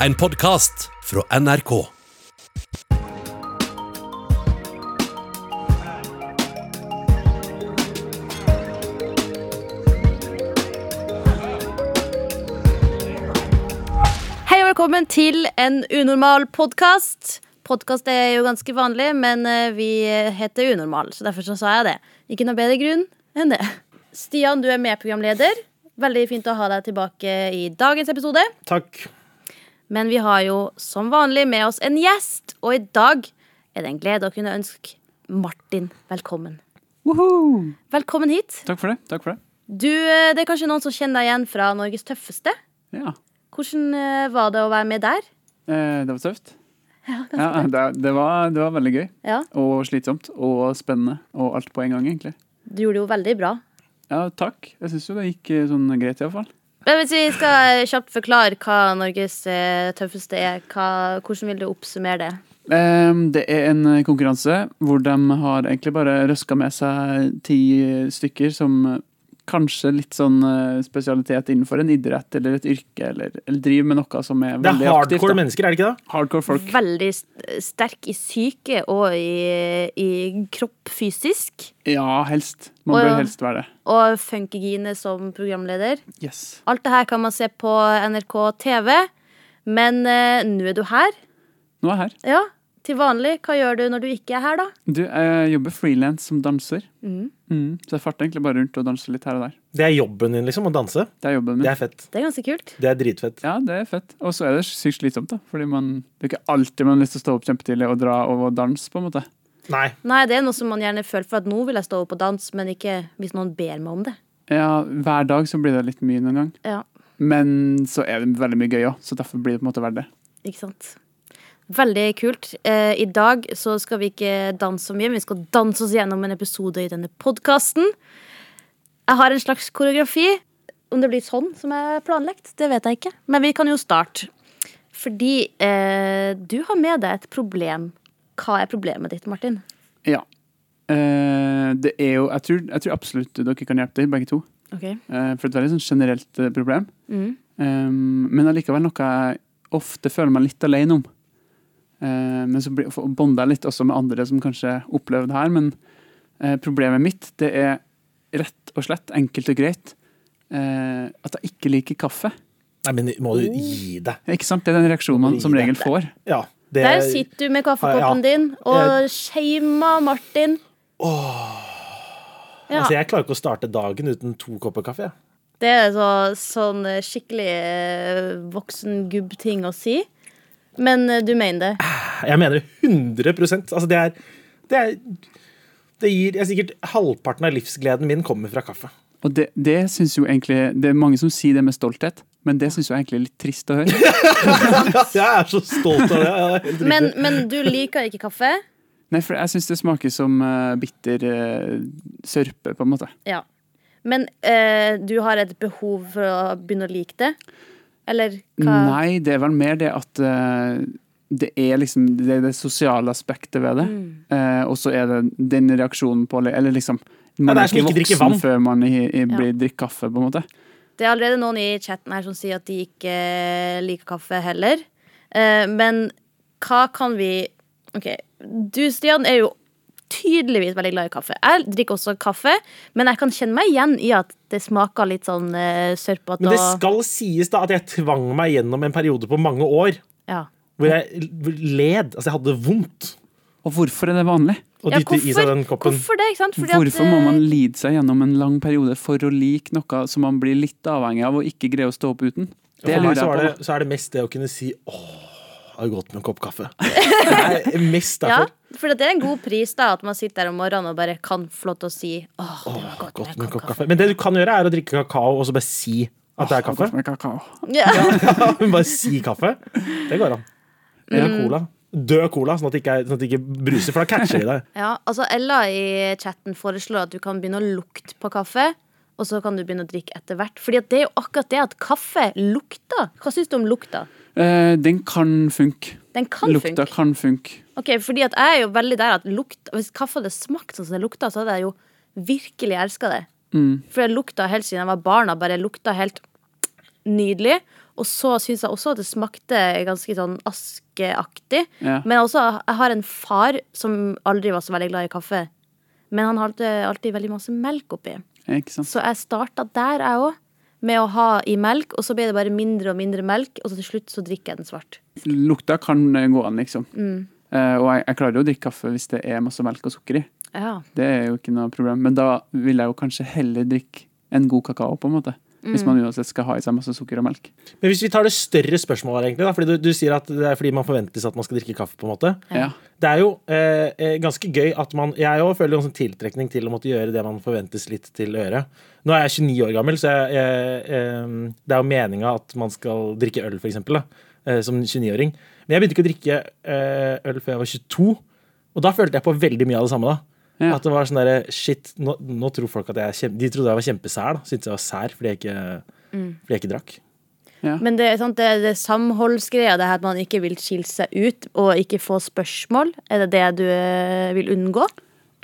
En podkast fra NRK. Hei og velkommen til en unormal podkast. Podkast er jo ganske vanlig, men eh, vi heter Unormal, så derfor så sa jeg det. Ikke noe bedre grunn enn det. Stian, du er medprogramleder. Veldig fint å ha deg tilbake i dagens episode. Takk. Men vi har jo som vanlig med oss en gjest, og i dag er det en glede å kunne ønske Martin velkommen. Velkommen hit. Takk for det. Takk for det. Du, eh, det er kanskje noen som kjenner deg igjen fra Norges tøffeste. Ja. Hvordan eh, var det å være med der? Eh, det var tøft. Ja, det, det, var, det var veldig gøy. Ja, Og slitsomt. Og spennende. Og alt på en gang, egentlig. Du gjorde det jo veldig bra. Ja, takk. Jeg syns jo det gikk eh, sånn greit, iallfall. Men hvis vi skal kjapt forklare hva Norges eh, tøffeste er, hva, hvordan vil du oppsummere det? Eh, det er en eh, konkurranse hvor de har egentlig bare røska med seg ti eh, stykker som eh, Kanskje litt sånn eh, spesialitet innenfor en idrett eller et yrke, eller, eller driver med noe som er Det er veldig hardcore aktivt. da. mennesker, er det ikke det? Hardcore folk. Veldig st- sterk i psyke og i, i kropp fysisk. Ja, helst. Man Å, bør ja. helst være det. Og Funkygine som programleder. Yes. Alt det her kan man se på NRK TV. Men eh, nå er du her. Nå er jeg her. Ja, til vanlig. Hva gjør du når du ikke er her, da? Du, jeg jobber frilans som danser. Mm, så jeg farter egentlig bare rundt og danser litt her og der. Det er jobben din, liksom, å danse. Det er jobben min. Det er fett. Det er ganske kult. Det er dritfett. Ja, det er fett. Og så er det sykt slitsomt, da. Fordi man, det er ikke alltid man har lyst til å stå opp kjempetidlig og dra og danse, på en måte. Nei. Nei, det er noe som man gjerne føler for at nå vil jeg stå opp og danse, men ikke hvis noen ber meg om det. Ja, hver dag så blir det litt mye noen gang. Ja, Men så er det veldig mye gøy òg, så derfor blir det på en måte verdt det. Ikke sant? Veldig kult. Eh, I dag så skal vi ikke danse så mye, men vi skal danse oss gjennom en episode i denne podkasten. Jeg har en slags koreografi. Om det blir sånn som er planlagt, det vet jeg ikke. Men vi kan jo starte. Fordi eh, du har med deg et problem. Hva er problemet ditt, Martin? Ja. Eh, det er jo Jeg tror, jeg tror absolutt dere kan hjelpe til, begge to. Ok. Eh, for det er et veldig sånn generelt eh, problem. Mm. Um, men allikevel noe jeg ofte føler meg litt alene om. Eh, men så blir- f- bonder jeg litt også med andre som kanskje opplever det her. Men eh, problemet mitt det er rett og slett, enkelt og greit, eh, at jeg ikke liker kaffe. Nei, men må du Mm. gi deg. Ikke sant? Det er den reaksjonen man som regel får. Ja. Det, Der sitter du med kaffekoppen Ja. din og shamer Martin. Ja. Altså, jeg klarer ikke å starte dagen uten to kopper kaffe. jeg. Det er så, sånn eh, skikkelig eh, voksengubb-ting å si. Men eh, du mener det. Jeg mener 100 Altså, det er Det, er, det gir jeg Sikkert halvparten av livsgleden min kommer fra kaffe. Og det, det synes jo egentlig Det er mange som sier det med stolthet, men det syns jeg egentlig er litt trist å høre. Jeg er så stolt av det. Ja, det er helt riktig. Men, men du liker ikke kaffe? Nei, for jeg syns det smaker som eh, bitter eh, sørpe, på en måte. Ja. Men eh, du har et behov for å begynne å like det? Eller hva? Nei, det er vel mer det at eh, det er liksom det, er det sosiale aspektet ved det. Mm. Eh, og så er det den reaksjonen på Eller liksom Man det er er som ikke ikke drikke voksen vann. før man i, i, blir drikker kaffe, på en måte. Det er allerede noen i chatten her som sier at de ikke eh, liker kaffe heller. Eh, men hva kan vi Ok, du Stian er jo tydeligvis veldig glad i kaffe. Jeg drikker også kaffe, men jeg kan kjenne meg igjen i at det smaker litt sånn uh, sørpete Men det og skal sies da at jeg tvang meg gjennom en periode på mange år ja. hvor jeg led. Altså, jeg hadde det vondt Og hvorfor er det vanlig? å Ja, dytte i seg den koppen. hvorfor det? Ikke sant? Fordi at, hvorfor må man eh, lide seg gjennom en lang periode for å like noe som man blir litt avhengig av og ikke greier å stå opp uten? Det For meg lurer så, var jeg på. det, så er det mest det å kunne si åh, det er godt med en kopp kaffe. Det er mest ja, derfor. for det er en god pris, da, at man sitter der om morgenen og bare kan få lov til å si åh, det var godt, Godt med en kopp kaffe. Men det du kan gjøre, er å drikke kakao og så bare si at det er kaffe. Med kakao. Ja. Men bare si kaffe. Mm. Det går an. Eller cola. Død cola, sånn at det ikke, er- sånn at det ikke bruser, for da catcher de deg. Ja, altså Ella i chatten foreslår at du kan begynne å lukte på kaffe. Og så kan du begynne å drikke etter hvert. Fordi at det er jo akkurat det at kaffe lukter. Hva syns du om lukta? Eh, den kan funke. Den kan Lukta funke. kan funke. Ok, fordi at jeg er jo veldig der at lukt, Hvis kaffe hadde smakt sånn som det lukta, så hadde jeg jo virkelig elska det. For det lukta helt siden jeg var barn. og Bare lukta helt nydelig. Og så syns jeg også at det smakte ganske sånn askeaktig. Ja. Men også, jeg har en far som aldri var så veldig glad i kaffe. Men han hadde alltid veldig masse melk oppi. Ikke sant? Så jeg starta der, jeg òg. Med å ha i melk, og så ble det bare mindre og mindre melk. Og så til slutt så drikker jeg den svart. Lukta kan eh, gå an, liksom. Eh, og jeg, jeg klarer jo å drikke kaffe hvis det er masse melk og sukker i. Ja. Det er jo ikke noe problem. Men da vil jeg jo kanskje heller drikke en god kakao, på en måte. Hvis man uansett skal ha i seg masse sukker og melk. Men hvis vi tar det større spørsmålet her, egentlig, da, fordi du, du sier at det er fordi man forventes at man skal drikke kaffe, på en måte. Ja. Det er jo eh, eh, ganske gøy at man Jeg òg føler en sånn tiltrekning til å måtte gjøre det man forventes litt til å gjøre. Nå er jeg 29 år gammel, så jeg, eh, eh, det er jo meninga at man skal drikke øl, for eksempel, da, eh, som 29-åring. Men jeg begynte ikke å drikke eh, øl før jeg var 22, og da følte jeg på veldig mye av det samme. da. Ja. At det var sånn derre Shit, nå, nå tror folk at jeg er kjempe... De trodde jeg var kjempesær, da. Syntes jeg var sær fordi jeg ikke, Mm. fordi jeg ikke drakk. Men det, er sant, det, det er samholdsgreia, det her at man ikke vil skille seg ut og ikke få spørsmål, er det det du eh, vil unngå?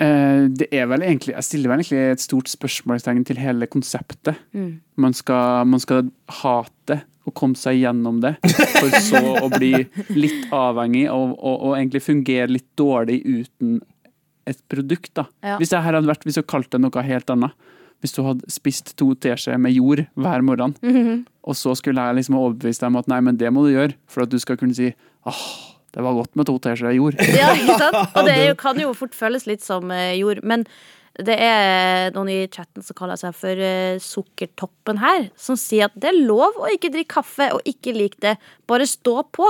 Eh, det er vel egentlig, jeg stiller vel egentlig et stort spørsmålstegn til hele konseptet. Man, skal, man skal hate og komme seg gjennom det, for så å bli litt avhengig og, og, og egentlig fungere litt dårlig uten et produkt. da. Ja. Hvis det her hadde vært, hvis du kalte det noe helt annet, hvis du hadde spist to teskjeer med jord hver morgen, og så skulle jeg liksom overbevise deg om at nei, men det må du gjøre, for at du skal kunne si åh, det var godt med to teskjeer jord. Ja, ikke sant? Og det er jo, kan jo fort føles litt som eh, jord. Men det er noen i chatten som kaller seg for eh, Sukkertoppen her, som sier at det er lov å ikke drikke kaffe og ikke like det. Bare stå på.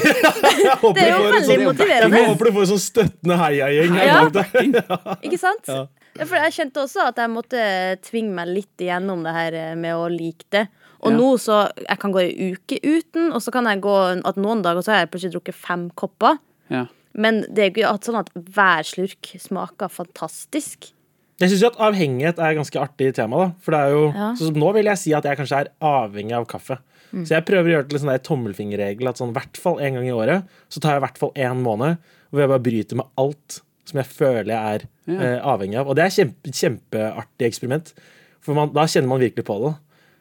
Jeg håper Det er du jo får en sånn- veldig motiverende. Jeg håper du får en sånn støttende heiagjeng. her Ja. bak deg. Ikke sant? Ja, For jeg kjente også at jeg måtte tvinge meg litt igjennom det her eh, med å like det. Og Ja. nå så Jeg kan gå ei uke uten, og så kan jeg gå at noen dager så har jeg plutselig drukket fem kopper. Ja. Men det er jo ikke at sånn at hver slurk smaker fantastisk. Jeg syns avhengighet er et ganske artig tema. da For det er jo, Ja. sånn som Nå vil jeg si at jeg kanskje er avhengig av kaffe. Så jeg prøver å gjøre det til en sånn der tommelfingerregel at sånn, i hvert fall en gang i året så tar jeg i hvert fall én måned hvor jeg bare bryter med alt som jeg føler jeg er eh, avhengig av. Og det er kjempe, kjempeartig eksperiment, for man, da kjenner man virkelig på det.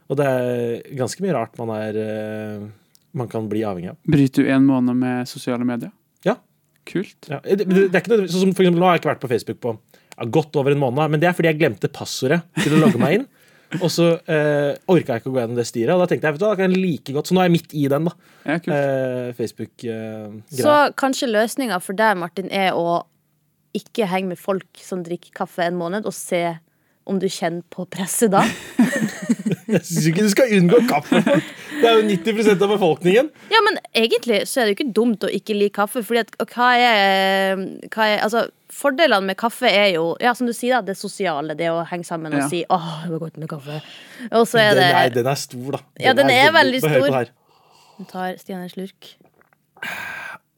Og det er ganske mye rart man, er, eh, man kan bli avhengig av. Bryter du en måned med sosiale medier? Ja. Kult. Ja, det, det er ikke nødvendigvis- sånn som for eksempel, Nå har jeg ikke vært på Facebook på ja, godt over en måned, men det er fordi jeg glemte passordet til å logge meg inn. Og så eh, orka jeg ikke å gå gjennom det styret, og da tenkte jeg vet du, hva, da kan jeg like godt Så nå er jeg midt i den, da. Ja, kult. Eh, Facebook-greia. Så kanskje løsninga for deg, Martin, er å ikke henge med folk som drikker kaffe en måned, og se om du kjenner på presset da. jeg syns ikke du skal unngå kaffe! folk. Det er jo 90 av befolkningen. Ja, men egentlig så er det jo ikke dumt å ikke like kaffe. Fordi at og hva er, hva er Altså, fordelene med kaffe er jo Ja, som du sier, da, det sosiale. Det å henge sammen og Ja. si 'Åh, det var godt med kaffe'. Og så er Den det er, den er stor, da. Ja, den er veldig hør stor. på det her. Nå tar Stian en slurk.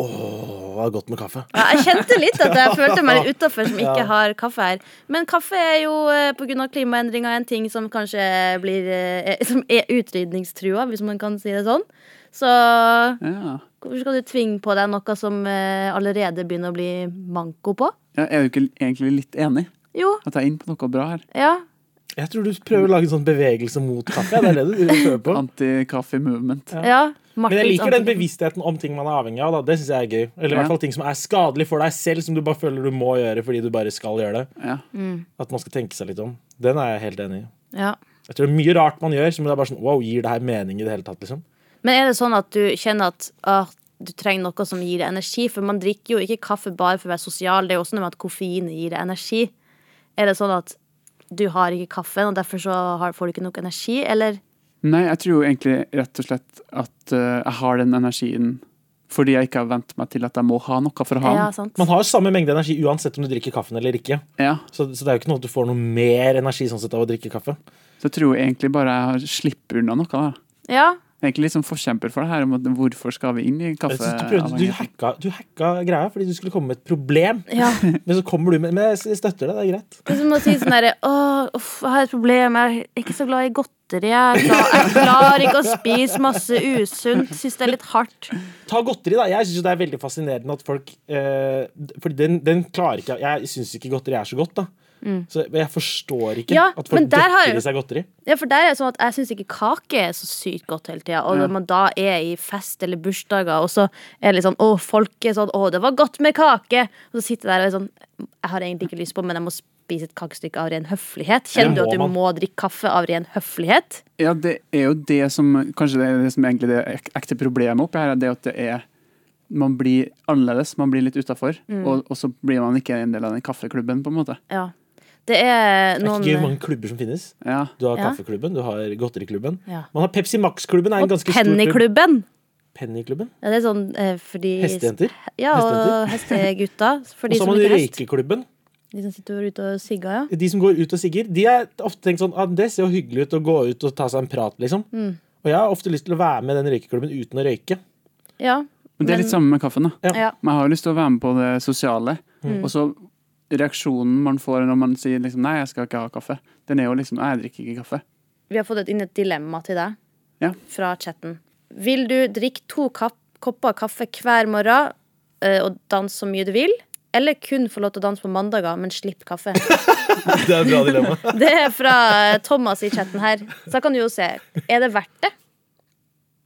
Åh, det er godt med kaffe. Ja, jeg kjente litt at jeg følte meg litt utafor som ikke har kaffe her. Men kaffe er jo eh, på grunn av klimaendringer en ting som kanskje blir eh, Som er utrydningstrua, hvis man kan si det sånn. Så Ja. hvorfor skal du tvinge på deg noe som eh, allerede begynner å bli manko på? Ja, jeg er jo ikke egentlig litt enig Jo, at jeg er inne på noe bra her. ja. Jeg tror du prøver å lage en sånn bevegelse mot kaffe. Det er det du prøver på. Anti-kaffe-movement. ja. Men jeg Martins liker den anti- bevisstheten om ting man er avhengig av. Da. Det synes jeg er gøy. Eller i Ja. hvert fall ting som er skadelig for deg selv, som du bare føler du må gjøre fordi du bare skal gjøre det. Ja. At man skal tenke seg litt om. Den er jeg helt enig i. ja. Jeg tror det er mye rart man gjør som det er bare sånn Wow, gir det her mening i det hele tatt, liksom? Men er det sånn at du kjenner at ah, du trenger noe som gir deg energi? For man drikker jo ikke kaffe bare for å være sosial, det er jo også noe med at koffein gir deg energi. Er det sånn at du har ikke kaffen, og derfor så har, får du ikke nok energi, eller? Nei, jeg tror jo egentlig rett og slett at eh, jeg har den energien fordi jeg ikke har vent meg til at jeg må ha noe for å ha Ja, den. sant? Man har jo samme mengde energi uansett om du drikker kaffen eller ikke. Ja. Så, så det er jo ikke noe at du får noe mer energi sånn sett av å drikke kaffe. Så jeg tror jo egentlig bare jeg har- slipper unna noe. da. Ja, Jeg er egentlig litt sånn forkjemper for det her om at hvorfor skal vi inn i Jeg synes Du, prøvde, du, kaffeavhengigheten. hacka, du hacka greia fordi du skulle komme med et problem, ja. men så kommer du med Men jeg støtter det, det er greit. Det er som å si sånn derre Åh, uff, jeg har et problem, jeg er ikke så glad i godteri. Jeg, er glad- jeg klarer ikke å spise masse usunt. Syns det er litt hardt. Ta godteri, da. Jeg syns det er veldig fascinerende at folk eh, Fordi den, den klarer ikke Jeg syns ikke godteri er så godt, da. Så jeg forstår ikke Mm. Ja, at men folk der har- godter i seg godteri. Ja, for der er det sånn at Jeg syns ikke kake er så sykt godt hele tida. Og Ja. når man da er i fest eller bursdager, og så er det litt sånn Å, folk er sånn Å, det var godt med kake! Og så sitter jeg der og er sånn Jeg har egentlig ikke lyst på, men jeg må spise et kakestykke av ren høflighet. Ja, det Kjenner du må at du man. må drikke kaffe av ren høflighet? Ja, det er jo det som Kanskje det er det som egentlig er det ek- ekte problemet oppi her, er det at det er Man blir annerledes, man blir litt utafor, Mm. og, og så blir man ikke en del av den kaffeklubben, på en måte. Ja. Det er Det er noen eh, ikke mange klubber som finnes. Ja. Du har Ja. Kaffeklubben, du har Godteriklubben. Ja. Man har Pepsi Max-klubben. er en Og ganske stor klubb. Pennyklubben. Pennyklubben. Ja, det er sånn eh, fordi Hestejenter. Ja, og hestegutter. For Og de så som har man liker hest. Røykeklubben. De som sitter ute og sigger, ja. De som går ut og sigger, de er ofte tenkt sånn at det ser jo hyggelig ut å gå ut og ta seg en prat, liksom. Mm. Og jeg har ofte lyst til å være med i den røykeklubben uten å røyke. ja. Men det er litt samme med kaffen, da. Ja. Ja. Man har jo lyst til å være med på det sosiale. Mm. Og så reaksjonen man får når man sier liksom, 'nei, jeg skal ikke ha kaffe', den er jo liksom 'nei, jeg drikker ikke kaffe'. Vi har fått et- inn et dilemma til deg Ja. fra chatten. Vil du drikke to kapp, kopper kaffe hver morgen eh, og danse så mye du vil? Eller kun få lov til å danse på mandager, men slipp kaffe? Det er et bra dilemma. Det er fra eh, Thomas i chatten her. Så da kan du jo se. Er det verdt det?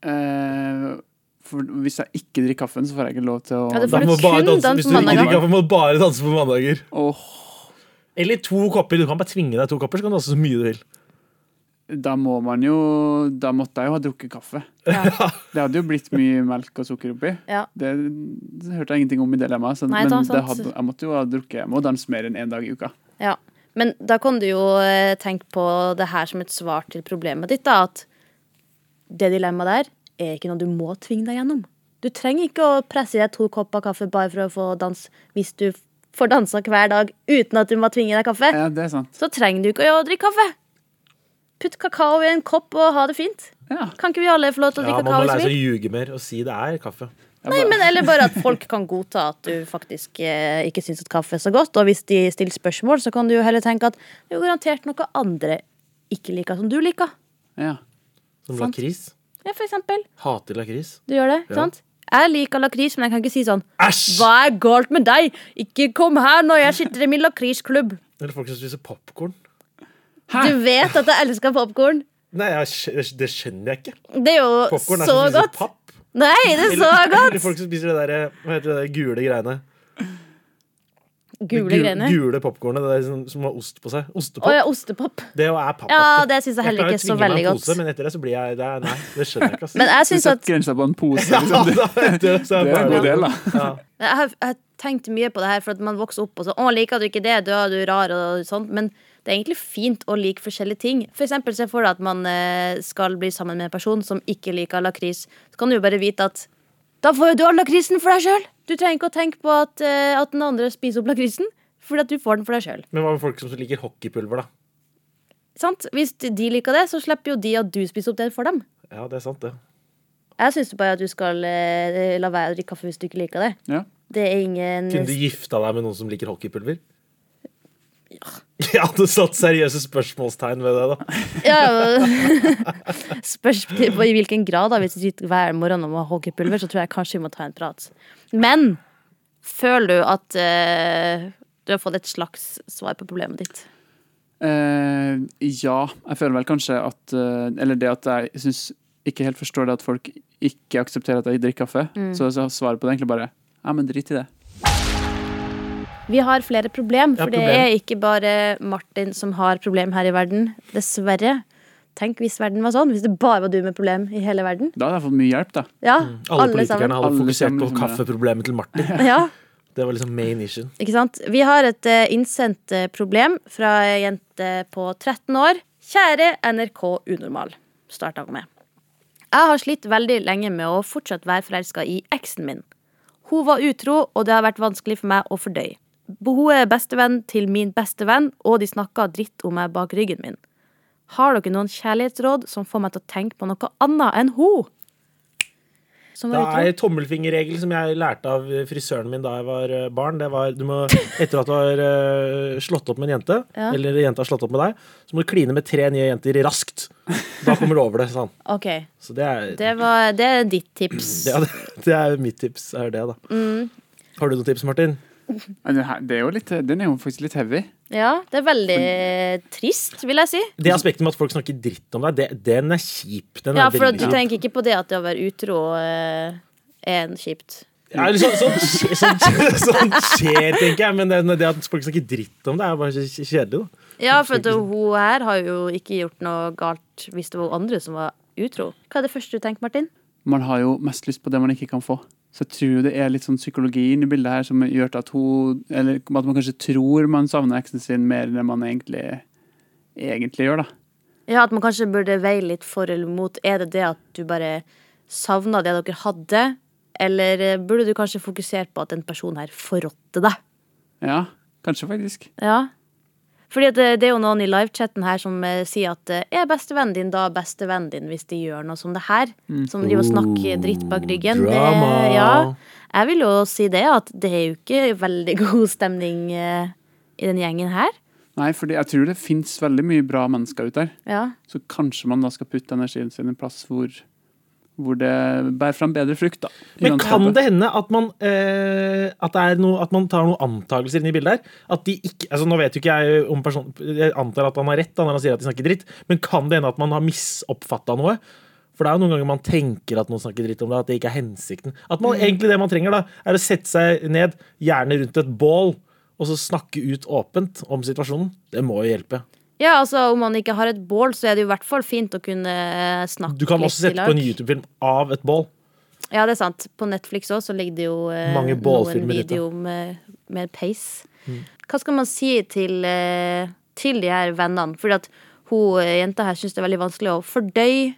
Eh, for hvis jeg ikke drikker kaffen, så får jeg ikke lov til å Ja, det danse. får du kun danse på mandager. kaffe, må du bare danse på mandager. Åh, Eller to kopper. Du kan bare tvinge deg to kopper, så kan du danse så mye du vil. da må man jo Da måtte jeg jo ha drukket kaffe. Ja. Det hadde jo blitt mye melk og sukker oppi. Ja. Det, det hørte jeg ingenting om i dilemmaet, så- Nei, men da, det sant. hadde, jeg måtte jo ha drukket Jeg må danse mer enn én dag i uka. Ja, men da kan du jo eh, tenke på det her som et svar til problemet ditt, da, at det dilemmaet der er ikke noe du må tvinge deg gjennom. Du trenger ikke å presse i deg to kopper kaffe bare for å få dans, hvis du f- får dansa hver dag uten at du må tvinge deg kaffe. Ja, det er sant. Så trenger du ikke å drikke kaffe. Putt kakao i en kopp og ha det fint. Ja. Kan ikke vi alle få lov til å Ja, drikke man må kakao lære hvis vi seg vil? å ljuge mer og si det er kaffe. Nei, men Eller bare at folk kan godta at du faktisk eh, ikke syns at kaffe er så godt. Og hvis de stiller spørsmål, så kan du jo heller tenke at det er jo garantert noe andre ikke liker som du liker. Ja. Som Sant. lakris. Ja, for eksempel. Hater lakris. Du gjør det, Ja. sant? Jeg liker lakris, men jeg kan ikke si sånn Æsj! Hva er galt med deg? Ikke kom her når jeg sitter i min lakrisklubb. Eller folk som spiser popkorn. Du vet at jeg elsker popkorn. Nei, jeg, skj- det skjønner jeg ikke. Det er jo Popkorn er så som spiser godt. papp. Nei, det er så Eller godt! folk som spiser det der, hva heter det der gule greiene. Det Gule gu- grener. Gule popcornet det der som, som har ost på seg. Ostepop. Å ja, ostepop. Det jo er papp. Ja, vet du. det syns jeg heller klarer å ikke så tvinge meg en veldig godt. Pose, men etter det så blir jeg det er, Nei, det skjønner jeg ikke. ass. Men jeg Du syns at setter grensa på en pose. Ja, Liksom. da vet du, så jeg Det er en bare- god del, da. Ja. Jeg har, jeg har tenkt mye på det her, for at man vokser opp og så Å, liker du ikke det? Du, er- du er rar og sånt. Men det er egentlig fint å like forskjellige ting. For eksempel se for deg at man eh, skal bli sammen med en person som ikke liker lakris. Så kan du jo bare vite at da får jo du all lakrisen for deg sjøl! Du trenger ikke å tenke på at, eh, at den andre spiser opp lakrisen, fordi at du får den for deg sjøl. Men hva med folk som liker hockeypulver, da? Sant? Hvis de liker det, så slipper jo de at du spiser opp det for dem. Ja, det er sant, det. Jeg syns bare at du skal eh, la være å drikke kaffe hvis du ikke liker det. Ja. Det er ingen Kunne du gifta deg med noen som liker hockeypulver? Ja. Jeg hadde satt seriøse spørsmålstegn ved det, da. Ja, og- Spørs i i hvilken grad, da. Hvis du sitter hver morgen og må ha hockeypulver, så tror jeg kanskje vi må ta en prat. Men føler du at eh, du har fått et slags svar på problemet ditt? Eh, ja, jeg føler vel kanskje at eh, Eller det at jeg syns ikke helt forstår det at folk ikke aksepterer at jeg drikker kaffe. Så, så svaret på det er egentlig bare ja, men drit i det. Vi har flere problem, for Ja, det problem. er ikke bare Martin som har problem her i verden. Dessverre. Tenk hvis verden var sånn. Hvis det bare var du med problem i hele verden. Da hadde jeg fått mye hjelp, da. Ja, Mm. Alle, alle politikerne sammen. hadde Alle fokusert sammen på liksom det. kaffeproblemet til Martin. Ja. Det var liksom main issue. Ikke sant? Vi har et eh, innsendt eh, problem fra ei jente på 13 år. Kjære NRK Unormal, starta hun med. Jeg har slitt veldig lenge med å fortsatt være forelska i eksen min. Hun var utro, og det har vært vanskelig for meg å fordøye. Hun er bestevenn til min bestevenn, og de snakker dritt om meg bak ryggen min. Har dere noen kjærlighetsråd som får meg til å tenke på noe annet enn hun? Som Det var utro? er en tommelfingerregel som jeg lærte av eh, frisøren min da jeg var eh, barn. Det var, du må, etter at du har eh, slått opp med en jente, Ja. eller jenta har slått opp med deg, så må du kline med tre nye jenter raskt. Da kommer du over det. Sånn. Ok, Så det er, det, det, var, det er ditt tips. Mm. ja, det, det er mitt tips. er det da. Har du noen tips, Martin? Nei, Den, her, det er jo litt, den er jo faktisk litt heavy. Ja, det er veldig trist, vil jeg si. Det aspektet med at folk snakker dritt om deg, det, den er kjip. Den er Ja, for veldig du kjip. tenker ikke på det at det å være utro eh, er en kjipt. Ja, eller sånn, sånn, skje- sånn, sånn skjer, tenker jeg. Men det, det at folk snakker dritt om det, er bare så kjedelig. da Ja, for at hun her har jo ikke gjort noe galt hvis det var andre som var utro. Hva er det første du tenker, Martin? Man har jo mest lyst på det man ikke kan få. Så jeg tror det er litt sånn psykologi inni bildet her som gjør til at hun Eller at man kanskje tror man savner eksen sin mer enn man egentlig, egentlig gjør, da. Ja, at man kanskje burde veie litt for eller mot. Er det det at du bare savna det dere hadde? Eller eh, burde du kanskje fokusert på at den personen her forrådte deg? Ja, kanskje faktisk. Ja. Fordi at det, det er jo noen i livechatten her som eh, sier at eh, er bestevennen din da bestevennen din hvis de gjør noe som det her? Mm. Som driver og snakker dritt bak ryggen. Det- drama. ja. Jeg vil jo si det, at det er jo ikke veldig god stemning eh, i den gjengen her. Nei, fordi jeg tror det fins veldig mye bra mennesker ute der. Ja. Så kanskje man da skal putte energien sin i en plass hvor, hvor det bærer fram bedre frukt, da. i Men kan landskapet. det hende at man, eh, at, det er noe, at man tar noen antakelser inn i bildet her? At de ikke, altså Nå vet jo ikke jeg om personen Jeg antar at han har rett da, når han sier at de snakker dritt, men kan det hende at man har misoppfatta noe? For det er jo noen ganger man tenker at noen snakker dritt om det, at det ikke er hensikten. At Mm. man, egentlig det man trenger, da, er å sette seg ned, gjerne rundt et bål, og så snakke ut åpent om situasjonen. Det må jo hjelpe. Ja, altså Om man ikke har et bål, så er det jo i hvert fall fint å kunne eh, snakke Du kan litt også i sette lag. på en YouTube-film av et bål. Ja, det er sant. På Netflix òg ligger det jo eh, Mange noen bålfilmer ute. Mm. video med, med peis. Hva skal man si til, eh, til de her vennene? Fordi at hun eh, jenta her syns det er veldig vanskelig å fordøye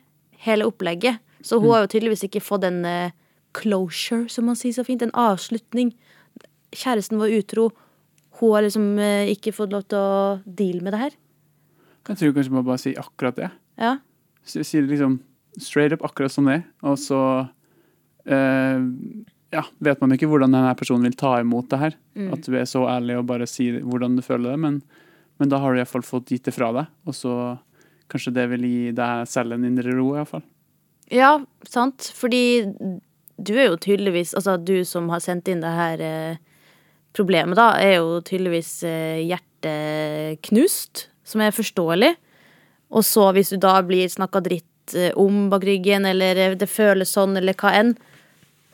hele opplegget. Så Mm. hun har jo tydeligvis ikke fått en eh, closure, som man sier så fint. En avslutning. Kjæresten var utro. Hun har liksom eh, ikke fått lov til å deale med det her. Jeg tror kanskje man bare sier akkurat det. Ja. Så jeg sier det liksom straight up akkurat som det, er, og så eh, ja, vet man ikke hvordan denne personen vil ta imot det her. At du er så ærlig og bare sier hvordan du føler det, men, men da har du iallfall fått gitt det fra deg, og så kanskje det vil gi deg selv en indre ro, iallfall. Ja, sant. Fordi du er jo tydeligvis Altså, du som har sendt inn det her eh, problemet, da, er jo tydeligvis eh, hjerteknust, som er forståelig. Og så, hvis du da blir snakka dritt eh, om bak ryggen, eller eh, det føles sånn, eller hva enn,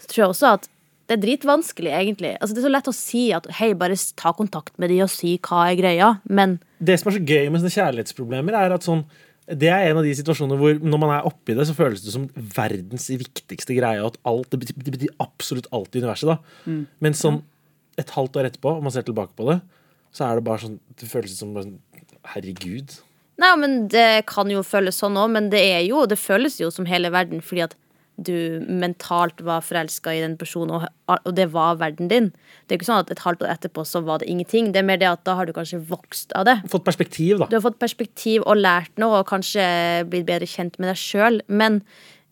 så tror jeg også at det er dritvanskelig, egentlig. Altså, det er så lett å si at hei, bare s- ta kontakt med de og si hva er greia, men det som er så gøy med sånne kjærlighetsproblemer, er at sånn det er en av de situasjoner hvor når man er oppi det, så føles det som verdens viktigste greie. Og at alt, det, betyr, det betyr absolutt alt i universet. da. Mm. Men sånn et halvt år etterpå, om man ser tilbake på det, så er det bare sånn, det føles som bare sånn, Herregud. Nei, men Det kan jo føles sånn òg, men det er jo, det føles jo som hele verden fordi at du mentalt var forelska i den personen, og, og det var verden din. Det er ikke sånn at et halvt år etterpå så var det ingenting. Det er mer det at da har du kanskje vokst av det. Fått perspektiv, Du da. har fått perspektiv og lært noe, og kanskje blitt bedre kjent med deg sjøl. Men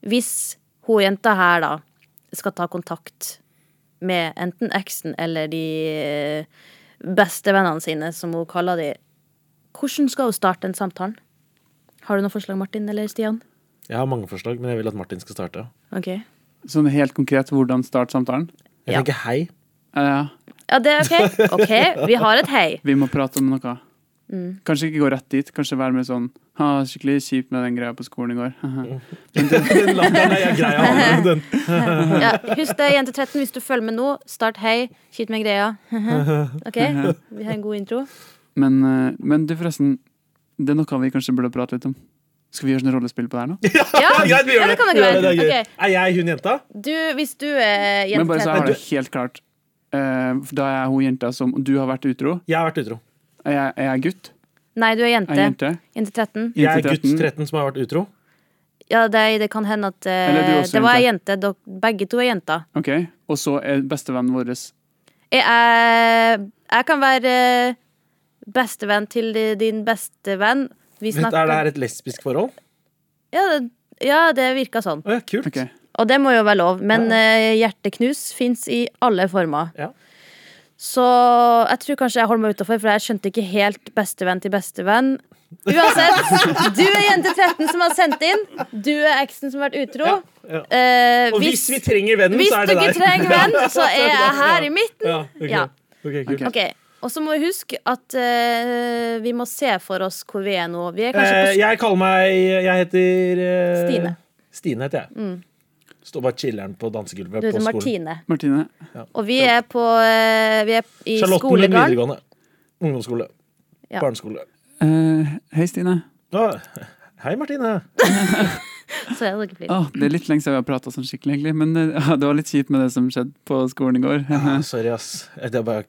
hvis hun jenta her da skal ta kontakt med enten eksen eller de eh, bestevennene sine, som hun kaller de, hvordan skal hun starte den samtalen? Har du noe forslag, Martin eller Stian? Jeg har mange forslag, men jeg vil at Martin skal starte. Ok. Sånn helt konkret hvordan starte samtalen. Jeg Ja. tenker hei. Ja, Ja, det er ok. Ok, vi har et hei. vi må prate om noe. Kanskje ikke gå rett dit. Kanskje være med sånn ha, skikkelig kjipt med den greia på skolen i går. Den latteren er grei å ha med. Den. Ja, husk det, jente 13, hvis du følger med nå, start hei, skyt med greia. Ok, vi har en god intro. Men, eh, men du, forresten, det er noe vi kanskje burde prate litt om. Skal vi gjøre sånn rollespill på det her nå? Ja, Ja, greit, vi ja, gjør det det. kan Vi dere gjør det, det er, være. gøy. er jeg hun jenta? Du, hvis du er jente Men bare så jeg 13 har det helt klart. Eh, for da er jeg hun jenta som Du har vært utro. Jeg har vært utro. Er jeg, er jeg gutt? Nei, du er Er jeg jente. jente? Jente 13. Jente Jeg er gutt 13 som har vært utro. Ja, det, det kan hende at eh, Eller du er også Det var ei jente. Dere begge to er jenter. Ok, Og så er bestevennen vår Jeg, jeg, jeg kan være eh, bestevenn til di- din bestevenn. Vi Vent, Er det snakker her et lesbisk forhold? Ja, det, ja, det virka sånn. Å, ja, kult. Ok. Og det må jo være lov. Men eh, hjerteknus fins i alle former. Ja. Så jeg tror kanskje jeg holder meg utafor, for jeg skjønte ikke helt bestevenn til bestevenn. Uansett, du er jente 13 som har sendt inn. Du er eksen som har vært utro. ja. Eh, Og hvis, vi trenger vennen, hvis så er du det ikke deg. trenger venn, så er jeg her i midten. Ja, ok. Ja. Ok, kult. Ok. Ok, Og så må vi huske at eh, vi må se for oss hvor vi er nå. Vi er kanskje Eh, på jeg kaller meg Jeg heter eh, Stine. Mm. Stine heter jeg. Står bare chiller'n på dansegulvet Du på heter skolen. Martine. Martine. Og vi er på eh, Vi er i Charlotten Lund skolegarden. videregående. Ungdomsskole. Ja. Barneskole. Eh, hei, Stine. Å, hei, Martine. Så er dere flere. Åh, det er litt lenge siden vi har prata sånn skikkelig, egentlig. Men eh, det var litt kjipt med det som skjedde på skolen i går. Ah, Sorry, ass. Jeg bare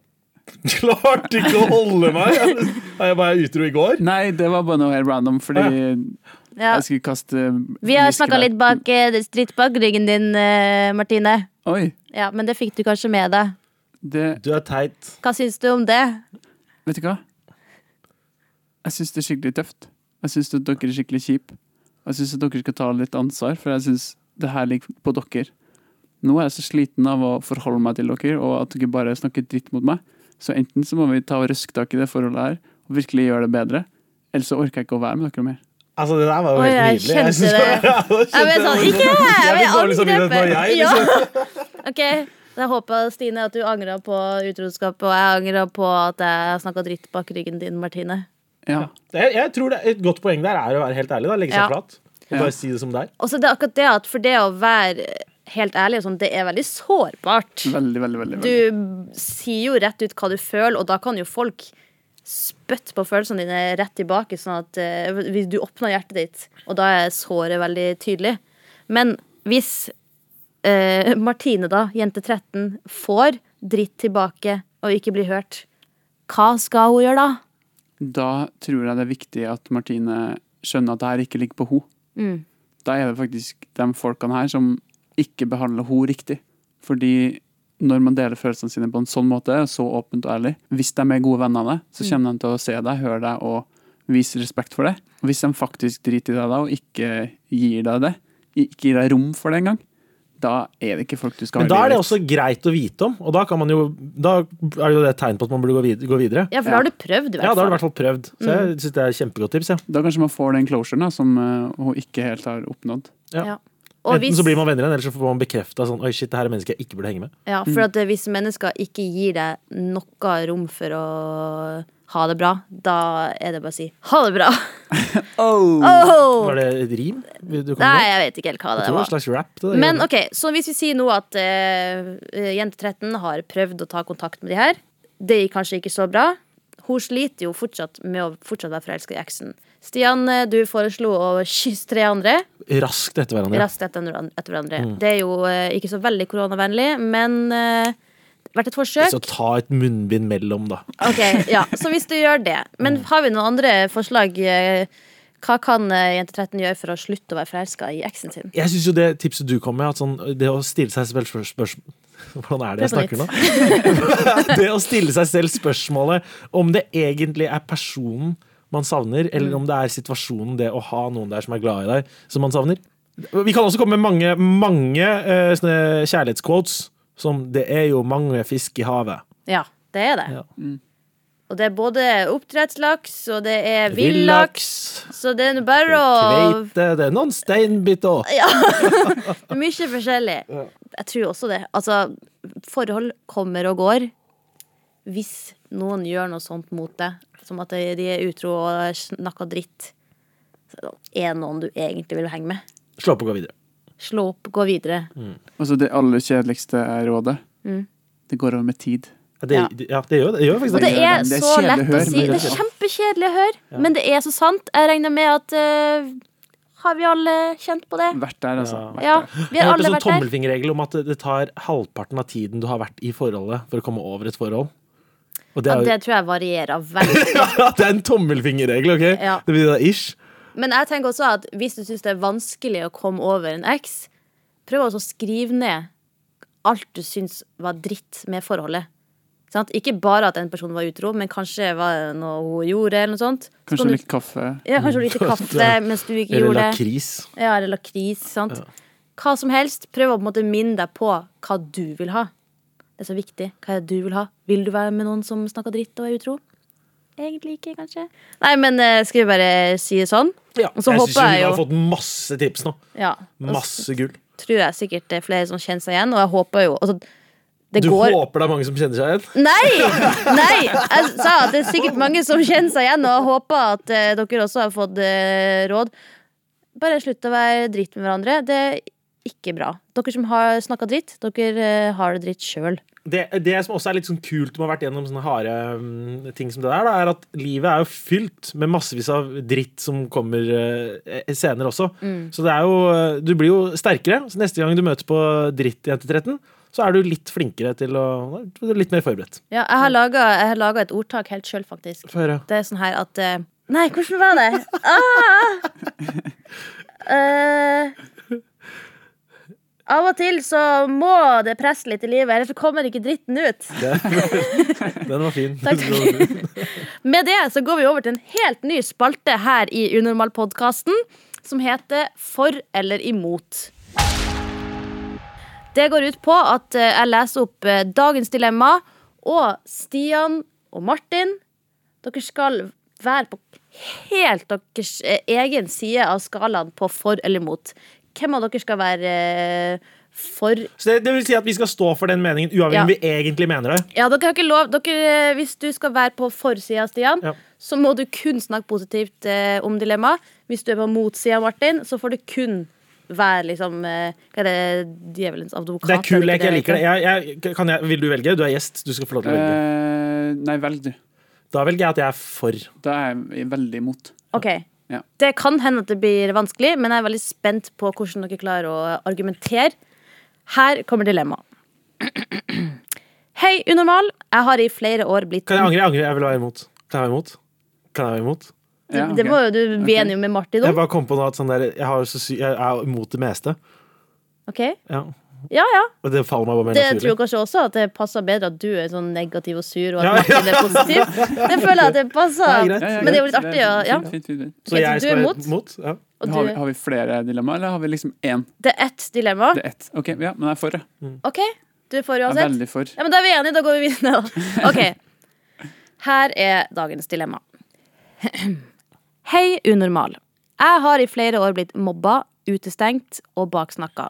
klarte ikke å holde meg. Er jeg bare utro i går? Nei, det var bare noe helt random, fordi Ja. jeg skulle kaste Vi har snakka litt bak, eh, stritt bak ryggen din, eh, Martine. Oi, Ja, Men det fikk du kanskje med deg. det Du er teit. Hva syns du om det? Vet du hva? Jeg syns det er skikkelig tøft. Jeg syns at dere er skikkelig kjipe. Jeg syns at dere skal ta litt ansvar, for jeg syns det her ligger på dere. Nå er jeg så sliten av å forholde meg til dere, og at dere bare snakker dritt mot meg. Så enten så må vi ta og røske tak i det forholdet her, og virkelig gjøre det bedre. Ellers så orker jeg ikke å være med dere mer. Altså, det der var jo Oi, helt jeg nydelig. kjente synes- det. Ja, da Jeg kjente ble sånn, jeg- ikke Jeg fikk dårlig jeg samvittighet når jeg liksom Ja. Ok, Jeg håper Stine, at du angrer på utroskapet, og jeg angrer på at jeg snakka dritt bak ryggen din, Martine. Ja. Jeg, jeg tror det, Et godt poeng der er å være helt ærlig. da, Legge seg Ja. flat. Og Ja. bare si det som det er. Og så er det akkurat det at for det å være helt ærlig, og sånn, det er veldig sårbart. Veldig, veldig, veldig. veldig. Du sier jo rett ut hva du føler, og da kan jo folk spytte på følelsene dine rett tilbake, sånn at eh, hvis du åpner hjertet ditt, og da er såret veldig tydelig. Men hvis eh, Martine, da, jente 13, får dritt tilbake og ikke blir hørt, hva skal hun gjøre da? Da tror jeg det er viktig at Martine skjønner at det her ikke ligger på henne. Da er det faktisk de folkene her som ikke behandler henne riktig. Fordi når man deler følelsene sine på en sånn måte, så åpent og ærlig Hvis de er gode venner av deg, så kommer de til å se deg, høre deg og vise respekt for deg. Og hvis de faktisk driter i deg da, og ikke gir deg det, ikke gir deg rom for det engang, da er det ikke folk du skal Men ha da i er det livet ditt. også greit å vite om, og da, kan man jo, da er det jo det et tegn på at man burde gå videre. Gå videre. Ja, Mm. for da har du prøvd, i hvert Ja, da har du i fall. hvert fall prøvd. Så jeg synes det er et kjempegodt tips. Ja. Da kanskje man får den closuren da, som eh, hun ikke helt har oppnådd. Ja. Ja. Og Enten hvis, så blir man venner igjen, eller så får man bekrefta sånn Oi, shit, det her er mennesker jeg ikke burde henge med. ja, for at eh, hvis mennesker ikke gir deg noe rom for å ha det bra, da er det bare å si ha det bra. Oh! Var det et rim? Du kom Nei, med? jeg vet ikke helt hva Jeg det tror det var en var. slags rap. Det der. Men ok, så hvis vi sier nå at eh, eh, jente 13 har prøvd å ta kontakt med de her, det gikk kanskje ikke så bra. Hun sliter jo fortsatt med å fortsatt være forelska i eksen. Stian, eh, du foreslo å kysse tre andre Raskt etter hverandre. raskt etter, hverandre- etter hverandre. Mm. Det er jo eh, ikke så veldig koronavennlig, men eh, vært et forsøk. Så ta et munnbind mellom, da. Ok, ja, Så hvis du gjør det. Men Mm. har vi noen andre forslag? eh, Hva kan eh, jente 13 gjøre for å slutte å være forelska i eksen sin? Jeg syns jo det tipset du kom med, at sånn, det å stille seg selv spørs- spørs- Hvordan er det jeg Prøv på snakker nå? det å stille seg selv spørsmålet om det egentlig er personen man savner, eller om det er situasjonen, det å ha noen der som er glad i deg, som man savner. Vi kan også komme med mange, mange eh, sånne kjærlighetsquotes, som 'det er jo mange fisk i havet'. Ja, det er det. Ja. Mm. Og det er både oppdrettslaks, og det er villaks. Så det er nå bare å Kveite, det er noen steinbit òg. Mye forskjellig. Jeg tror også det. Altså, forhold kommer og går. Hvis noen gjør noe sånt mot deg, som at de er utro og snakker dritt, så er det noen du egentlig vil henge med. Slå på og gå videre. Slå opp, gå videre. Mm. Altså det aller kjedeligste rådet. Mm. Det går over med tid. Ja, det, ja, det gjør det. Gjør faktisk Og det. det er men det så er kjedelig lett å å si. høre, Det men det- er kjempekjedelig å høre, men det er så sant. Jeg regner med at eh, Har vi alle kjent på det? Vært der, altså. Vært Ja, der. vi Jeg har hørte alle sånn vært der. tommelfingerregel om at det- det tar halvparten av tiden du har vært i forholdet, for å komme over et forhold. Og det Ja, er, jo- det tror jeg varierer veldig. ja, det er en tommelfingerregel, OK? Ja. Det blir da ish. Men jeg tenker også at hvis du syns det er vanskelig å komme over en eks, prøv også å skrive ned alt du syns var dritt med forholdet. Sant? Ikke bare at en person var utro, men kanskje var det noe hun gjorde. eller noe sånt. Så kan Kanskje du- litt kaffe. ja, kanskje hun likte kaffe mens du ikke Eller gjorde det. lakris. Ja, eller lakris, sant? Hva som helst. Prøv å på en måte minne deg på hva du vil ha. Det er så viktig. Hva er det du vil ha? Vil du være med noen som snakker dritt og er utro? Egentlig ikke, kanskje. Nei, men eh, skal vi bare si det sånn? Ja. Og så jeg håper synes jo jeg vi har jo- fått masse tips nå. Ja. Og så Masse gull. tror jeg sikkert det er flere som kjenner seg igjen, og jeg håper jo altså, Det Du går håper det er mange som kjenner seg igjen? Nei! nei Jeg sa at det er sikkert mange som kjenner seg igjen, og jeg håper at eh, dere også har fått eh, råd. Bare slutt å være dritt med hverandre. Det er ikke bra. Dere som har snakka dritt, dere eh, har det dritt sjøl. Det, det som også er litt sånn kult med å ha vært gjennom sånne harde mm, ting som det der, da, er at livet er jo fylt med massevis av dritt som kommer eh, senere også. Mm. Så det er jo, eh, du blir jo sterkere. Så neste gang du møter på dritt i NT13, så er du litt flinkere til å du er Litt mer forberedt. Ja, jeg har laga- jeg har laga et ordtak helt sjøl, faktisk. Få høre. Det er sånn her at eh, Nei, hvordan var det? Ah! Eh, av og til så må det presse litt i livet, ellers så kommer ikke dritten ut. Den var fin. Takk. Med det så går vi over til en helt ny spalte her i Unormal-podkasten, som heter For eller imot. Det går ut på at eh, jeg leser opp eh, dagens dilemma, og Stian og Martin Dere skal være på helt deres eh, egen side av skalaen på for eller imot. Hvem av dere skal være eh, for Så det, det vil si at vi skal stå for den meningen, uavhengig Ja. om vi egentlig mener det. Ja, dere har ikke lov dere, eh, Hvis du skal være på forsida, Stian, Ja. så må du kun snakke positivt eh, om dilemmaet. Hvis du er på motsida, Martin, så får du kun være liksom eh, Hva er det? Djevelens advokat? Det er kul lek, ikke jeg liker det. Jeg, jeg, kan jeg, vil du velge? Du er gjest, du skal få lov til å velge. Eh, nei, velg du. Da velger jeg at jeg er for. Da er jeg veldig imot. Ok. Ja. Det kan hende at det blir vanskelig, men jeg er veldig spent på hvordan dere klarer å argumentere. Her kommer dilemmaet. Hei, unormal. Jeg har i flere år blitt Kan jeg angre? Jeg angrer, jeg vil være imot. Kan jeg være imot? Kan jeg være imot? Ja, Det ok. må jo du bli Ok. enig med Martin Jeg om. bare kom på nå at sånn der, jeg, har så sy jeg er imot det meste. Ok? Ja. Ja, ja. Og det faller meg bare mer Det tror jeg naturlig. kanskje også at det passer bedre at du er sånn negativ og sur, og at Ja, Martin er positiv. Det føler jeg at det passer. Det er greit. Ja, ja, Men det er jo litt greit. artig, ja. ja. Fint, fint, fint, fint. Ok, så du er imot, imot? Ja. og Har, vi, du, har vi flere dilemmaer, eller har vi liksom én? det er ett dilemma. Det er ett. Ok, ja, men jeg er for det. OK, du er for Jeg er uansett. veldig for. Ja, men da er vi enige, da går vi videre. da. Ok, Her er dagens dilemma. Hei, unormal. Jeg har i flere år blitt mobba, utestengt og baksnakka.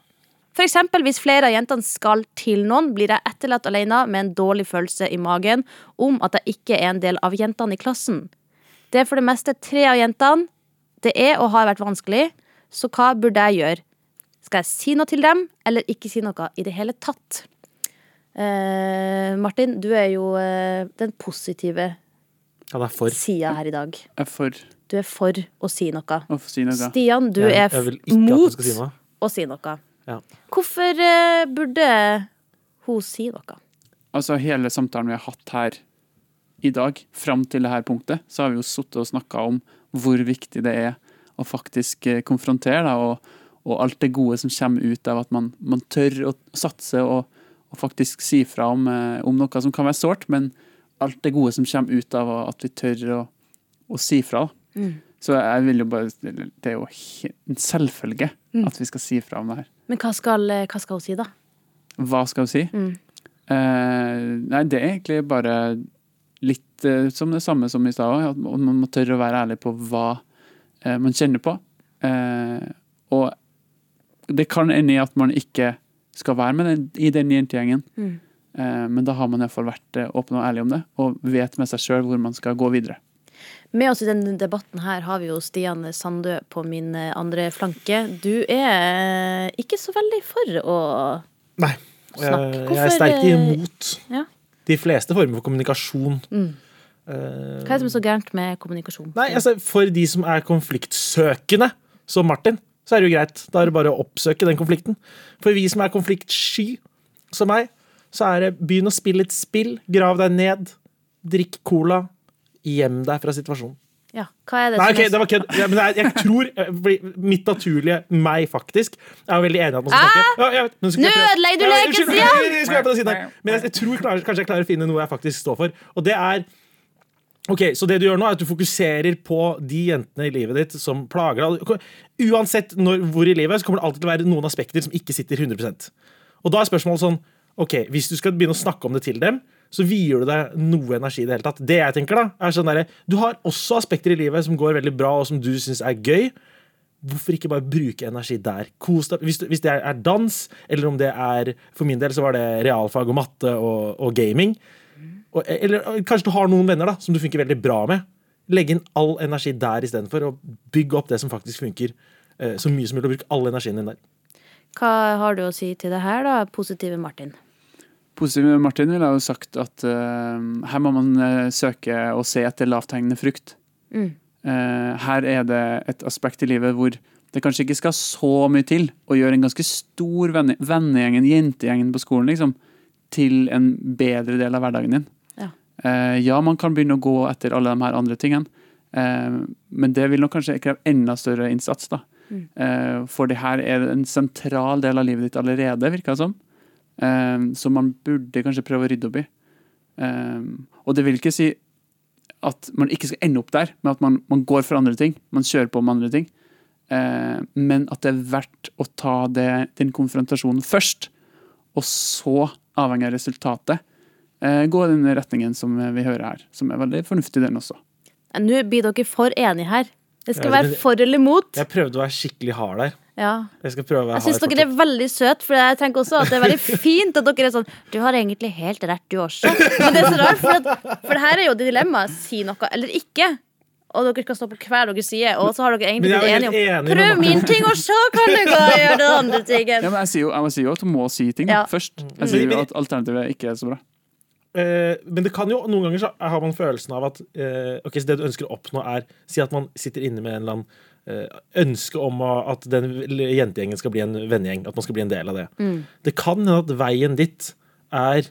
For eksempel hvis flere av jentene skal til noen, blir jeg etterlatt alene med en dårlig følelse i magen om at jeg ikke er en del av jentene i klassen. Det er for det meste tre av jentene. Det er og har vært vanskelig, så hva burde jeg gjøre? Skal jeg si noe til dem, eller ikke si noe i det hele tatt? Eh, Martin, du er jo eh, den positive Han er for. sida her i dag. Jeg er for Du er for å si noe. å få si noe. Stian, du Jeg, er jeg vil f- ikke at mot du skal si noe. å si noe. Ja. Hvorfor eh, burde hun si noe? Altså hele samtalen vi har hatt her i dag, fram til det her punktet, så har vi jo sittet og snakka om hvor viktig det er å faktisk eh, konfrontere, da, og, og alt det gode som kommer ut av at man, man tør å satse og, og faktisk si fra om, eh, om noe som kan være sårt, men alt det gode som kommer ut av at vi tør å, å si fra. da. Så jeg vil jo bare Det er jo he- en selvfølge at vi skal si fra om det her. Men hva skal, eh, hva skal hun si, da? Hva skal vi si? Eh, nei, det er egentlig bare litt eh, som det samme som i stad også, at man man må tørre å være ærlig på hva eh, man kjenner på. Eh, og det kan ende i at man ikke skal være med den, i den jentegjengen, Eh, men da har man iallfall vært eh, åpen og ærlig om det, og vet med seg sjøl hvor man skal gå videre. Med oss i denne debatten her har vi jo Stian Sandø på min eh, andre flanke. Du er eh, ikke så veldig for å Nei. Snakk. Jeg, jeg er Hvorfor, sterkt eh, imot ja. de fleste former for kommunikasjon. Mm. Eh, Hva er det som er så gærent med kommunikasjon? Nei, altså, for de som er konfliktsøkende, som Martin, så er det jo greit. Da er det bare å oppsøke den konflikten. For vi som er konfliktsky, som meg, så er det begynn å spille et spill, grav deg ned, drikk cola, gjem deg fra situasjonen. Ja, hva er det Nei, som ok, er så- det var kødd. Ja, men jeg, jeg tror eh, fordi Mitt naturlige meg, faktisk, er jo veldig enig i at man skal Ah! snakke. Ja, jeg vet, men så skal Nå jeg prøve- ødelegger du Ja, leken, unnskyld, Stian! jeg- jeg skal være på den siden her. Men jeg, jeg tror klarer, kanskje jeg klarer å finne noe jeg faktisk står for. Og det er Ok, Så det du gjør nå, er at du fokuserer på de jentene i livet ditt som plager deg. Uansett når, hvor i livet, så kommer det alltid til å være noen aspekter som ikke sitter 100 Og da er spørsmålet sånn Ok, hvis du skal begynne å snakke om det til dem, så vier du deg noe energi i det hele tatt. Det jeg tenker da, er sånn derre Du har også aspekter i livet som går veldig bra, og som du syns er gøy. Hvorfor ikke bare bruke energi der? Kos deg. Hvis, du- hvis det er- er dans, eller om det er For min del så var det realfag og matte og, og gaming. Og, eller eh, kanskje du har noen venner da som du funker veldig bra med. Legg inn all energi der istedenfor, og bygg opp det som faktisk funker. eh, Så mye som mulig, og bruk all energien din der. Hva har du å si til det her, da, positive Martin? Positive Martin ville jo sagt at eh, her må man eh, søke og se etter lavthengende frukt. Mm. Eh, her er det et aspekt i livet hvor det kanskje ikke skal så mye til å gjøre en ganske stor venne, vennegjengen, jentegjengen på skolen, liksom, til en bedre del av hverdagen din. Ja. Eh, ja, man kan begynne å gå etter alle de her andre tingene, eh, men det vil nok kanskje kreve enda større innsats, da. Mm. Eh, for det her er en sentral del av livet ditt allerede, virker det som. Eh, som man burde kanskje prøve å rydde opp i. Eh, og det vil ikke si at man ikke skal ende opp der, men at man, man går for andre ting. Man kjører på med andre ting. Eh, men at det er verdt å ta det, den konfrontasjonen først, og så, avhengig av resultatet, eh, gå i den retningen som vi hører her, som er veldig fornuftig, den også. Eh, Nå blir dere for enige her. Det skal Ja, være det- for eller mot. Jeg prøvde å være skikkelig hard der. Ja. Jeg skal prøve å Jeg være syns hard dere er fortsatt. veldig søte, for jeg tenker også at det er veldig fint at dere er sånn Du har egentlig helt rett, du også. Men det er så rart, for, at, for det her er jo dilemmaet. Si noe eller ikke. Og dere skal stå på hver deres side, og så har dere egentlig Men jeg blitt er enige om helt enig med Prøv Martin. min ting, og så kan du gå og gjøre den andre tingen. Ja, men jeg sier jo, jeg sier jo at du må si ting Ja. da, først. Jeg sier Men- jo at alternativet ikke er så bra. Eh, Men det kan jo, noen ganger så har man følelsen av at eh, ok, så det du ønsker å oppnå, er Si at man sitter inne med en eller annen eh, ønske om å- at den lille jentegjengen skal bli en vennegjeng. At man skal bli en del av det. Mm. Det kan hende at veien dit er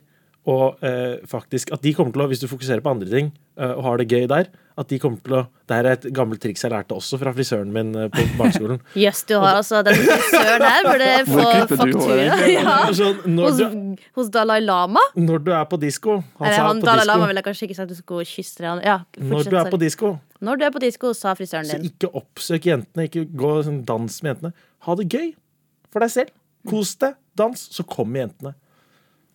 å eh, faktisk At de kommer til å, hvis du fokuserer på andre ting eh, og har det gøy der at de kommer til å, Det her er et gammelt triks jeg lærte også fra frisøren min eh, på barneskolen. Jøss, du har altså den frisøren her burde få klipper du faktura. håret? Ja. Sånn, når, Hos, du, hos Dalai Lama? når du er på disko Han Eller sa han på Dalai disco. Lama ville kanskje ikke sagt du skulle kysse han. Ja, Når fortsett, du er på sorry. disko, Når du er på disko, sa frisøren så din. ikke oppsøk jentene. Ikke gå og sånn dans med jentene. Ha det gøy for deg selv. Kos deg. Dans, så kommer jentene.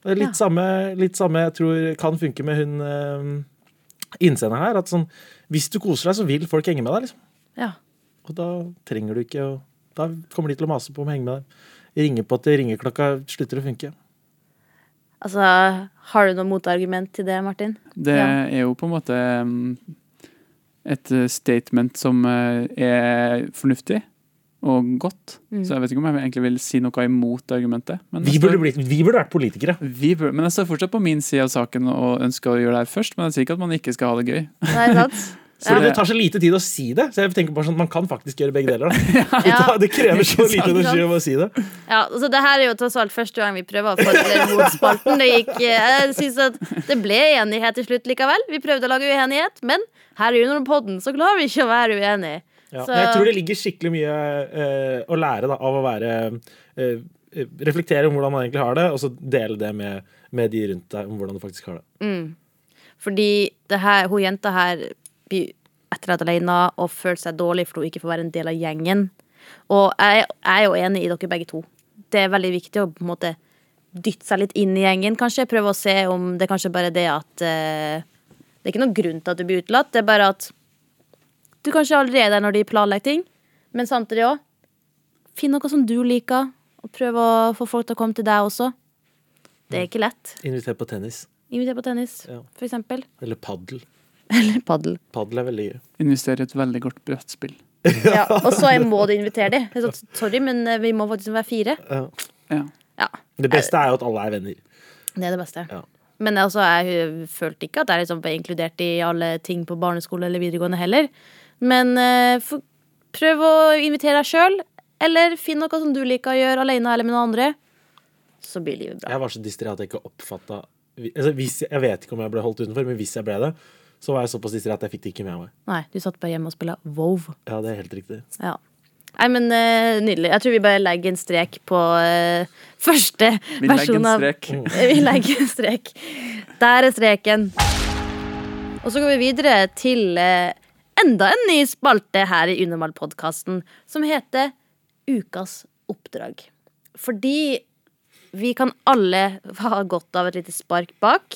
Det er Ja. litt, samme, litt samme jeg tror kan funke med hun uh, innsender her. At sånn, hvis du koser deg, så vil folk henge med deg. Liksom. Ja. Og da trenger du ikke å Da kommer de til å mase på om å henge med deg. Ringe på til ringeklokka slutter å funke. Altså, har du noe motargument til det, Martin? Det Ja. er jo på en måte mm, et eh, statement som eh, er fornuftig og godt. Mm. Så jeg vet ikke om jeg egentlig vil si noe imot argumentet. Men Vi jeg burde, står- blitt, vi burde vært politikere. vi burde, men jeg står fortsatt på min side av saken og ønsker å gjøre det her først. Men jeg sier ikke at man ikke skal ha det gøy. Nei, sant? For Ja. Det tar så lite tid å si det. Så jeg tenker bare sånn, Man kan faktisk gjøre begge deler. Da. Det, Ja. tar, det krever så lite sant? energi å bare si det. Ja, altså Det her er jo tross alt første gang vi prøver å få til motspalten. Det gikk, eh, jeg synes at det ble enighet til slutt likevel. Vi prøvde å lage uenighet, men her i Underpodden så klarer vi ikke å være uenige. Ja. Så- men Jeg tror det ligger skikkelig mye eh, å lære da, av å være eh, eh, Reflektere om hvordan man egentlig har det, og så dele det med, med de rundt deg om hvordan du faktisk har det. Fordi det her, hun jenta her blir etterlatt alene og føler seg dårlig fordi hun ikke får være en del av gjengen. Og jeg, jeg er jo enig i dere begge to. Det er veldig viktig å på en måte dytte seg litt inn i gjengen, kanskje. Prøve å se om det kanskje bare er det at eh, Det er ikke noen grunn til at du blir utelatt. Det er bare at du kanskje aldri er der når de planlegger ting. Men samtidig òg Finn noe som du liker, og prøv å få folk til å komme til deg også. Det er ikke lett. Inviter på tennis Inviter på tennis, Ja. for eksempel. eller padel. Eller padel. Padel er veldig gøy. Investere i et veldig godt brettspill. Ja, og så jeg må du invitere dem. Jeg sa, Sorry, men eh, vi må faktisk være fire. Ja. Ja. Ja, Det beste er jo at alle er venner. Det er det beste. Ja. Men altså, jeg følte ikke at jeg liksom ble inkludert i alle ting på barneskole eller videregående heller. Men eh, få- prøv å invitere deg sjøl, eller finn noe som du liker å gjøre alene eller med noen andre. Så blir livet bra. Jeg var så distré at jeg ikke oppfatta altså, hvis, Jeg vet ikke om jeg ble holdt utenfor, men hvis jeg ble det, så var jeg såpass distré at jeg fikk det ikke med meg. Nei, du satt bare hjemme og spilte Vov. Ja, det er helt riktig. Ja. Nei, men eh, nydelig. Jeg tror vi bare legger en strek på eh, første Vi legger versjon en av strek. Vi legger en strek. Der er streken. Og så går vi videre til eh, enda en ny spalte her i Unormal-podkasten, som heter Ukas oppdrag. Fordi vi kan alle ha godt av et lite spark bak.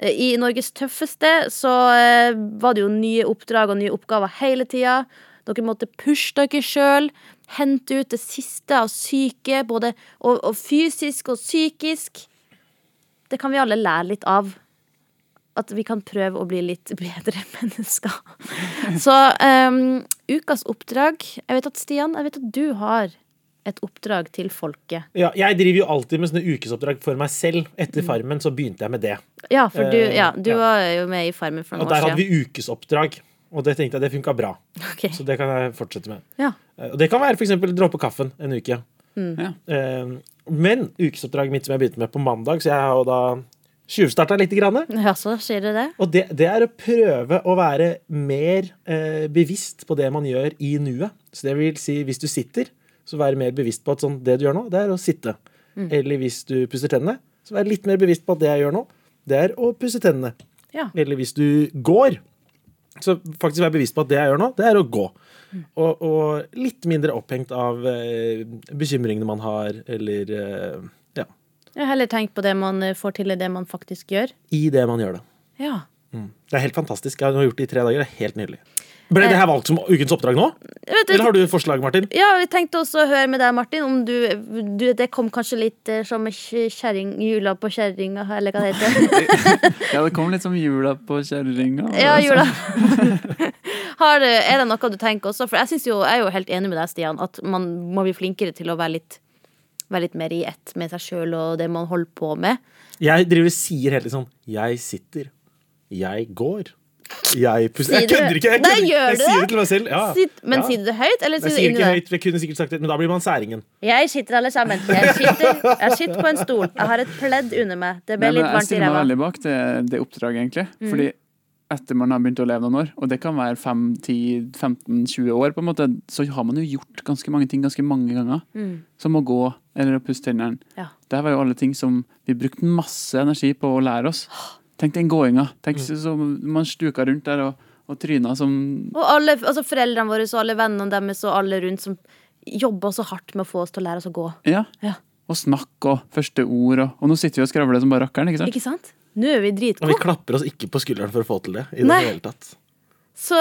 Eh, I Norges tøffeste så eh, var det jo nye oppdrag og nye oppgaver hele tida. Dere måtte pushe dere sjøl. Hente ut det siste av syke, både og, og fysisk og psykisk. Det kan vi alle lære litt av. At vi kan prøve å bli litt bedre mennesker. Så em, ukas oppdrag Jeg vet at Stian, jeg vet at du har et oppdrag til folket. Ja, jeg driver jo alltid med sånne ukesoppdrag for meg selv. Etter Farmen så begynte jeg med det. Ja, for du, Eh, ja, du ja. var jo med i Farmen for Og noen der år hadde siden. vi ukesoppdrag, og det tenkte jeg det funka bra. Ok. Så det kan jeg fortsette med. Ja. Eh, Og det kan være f.eks. dråpe kaffen en uke. Ja. Eh, Men ukesoppdraget mitt som jeg begynte med på mandag, så jeg har jo da tjuvstarta lite grann. ja, så sier du det. Og det, det er å prøve å være mer eh, bevisst på det man gjør i nuet. Så det vil si, hvis du sitter, så være mer bevisst på at sånn, det du gjør nå, det er å sitte. Eller hvis du pusser tennene, så være litt mer bevisst på at det jeg gjør nå, det er å pusse tennene. Ja. Eller hvis du går, så faktisk være bevisst på at det jeg gjør nå, det er å gå. Og, og litt mindre opphengt av eh, bekymringene man har, eller eh, ja, Jeg har heller tenkt på det man eh, får til, i det man faktisk gjør. i det man gjør det. Mm. Ja. Det er helt fantastisk. Jeg har gjort det i tre dager. Det er helt nydelig. Ble det her valgt som ukens oppdrag nå? Vet Eller har du forslag, Martin? Ja, vi tenkte også å høre med deg, Martin, om du, du Det kom kanskje litt eh, som kj- kjerring, jula på kjerringa, eller hva det heter. ja, det kom litt som jula på kjerringa. Ja, jula. Har, du- er det noe du tenker også? For jeg, synes jo, jeg er jo helt enig med deg, Stian, at man må bli flinkere til å være litt, være litt mer i ett med seg sjøl og det man holder på med. Jeg driver og sier helt liksom Jeg sitter. Jeg går. Jeg pusser Sier Jeg du- kødder ikke! Jeg, Nei, kødder. ikke. gjør jeg du sier det? det til meg selv. Ja. Sitt, men ja. sier du det høyt, eller Jeg sier du sier inni ikke deg? høyt, for jeg kunne sikkert sagt det, men da blir man særingen. Jeg sitter alle sammen. Jeg sitter, jeg sitter på en stol. Jeg har et pledd under meg. Det Mm. ble Nei, men litt varmt i Jeg stiller meg ræva. veldig bak det, det oppdraget, egentlig. Fordi etter man har begynt å leve noen år, og det kan være 5-10-15-20 år, på en måte, så har man jo gjort ganske mange ting ganske mange ganger. Mm. Som å gå eller å pusse tennene. Ja. Det her var jo alle ting som vi brukte masse energi på å lære oss. Tenk den gåinga. Tenk Mm. så så man stuka rundt der og, og tryna som Og alle, altså foreldrene våre og alle vennene deres og alle rundt som jobber så hardt med å få oss til å lære oss å gå. Ja. Ja. Og snakk og første ord og Og nå sitter vi og skravler som bare rakkeren, ikke sant? Ikke sant? Nå er vi Og vi dritgode. klapper oss ikke på skulderen for å få til det. I det Nei. hele tatt. Så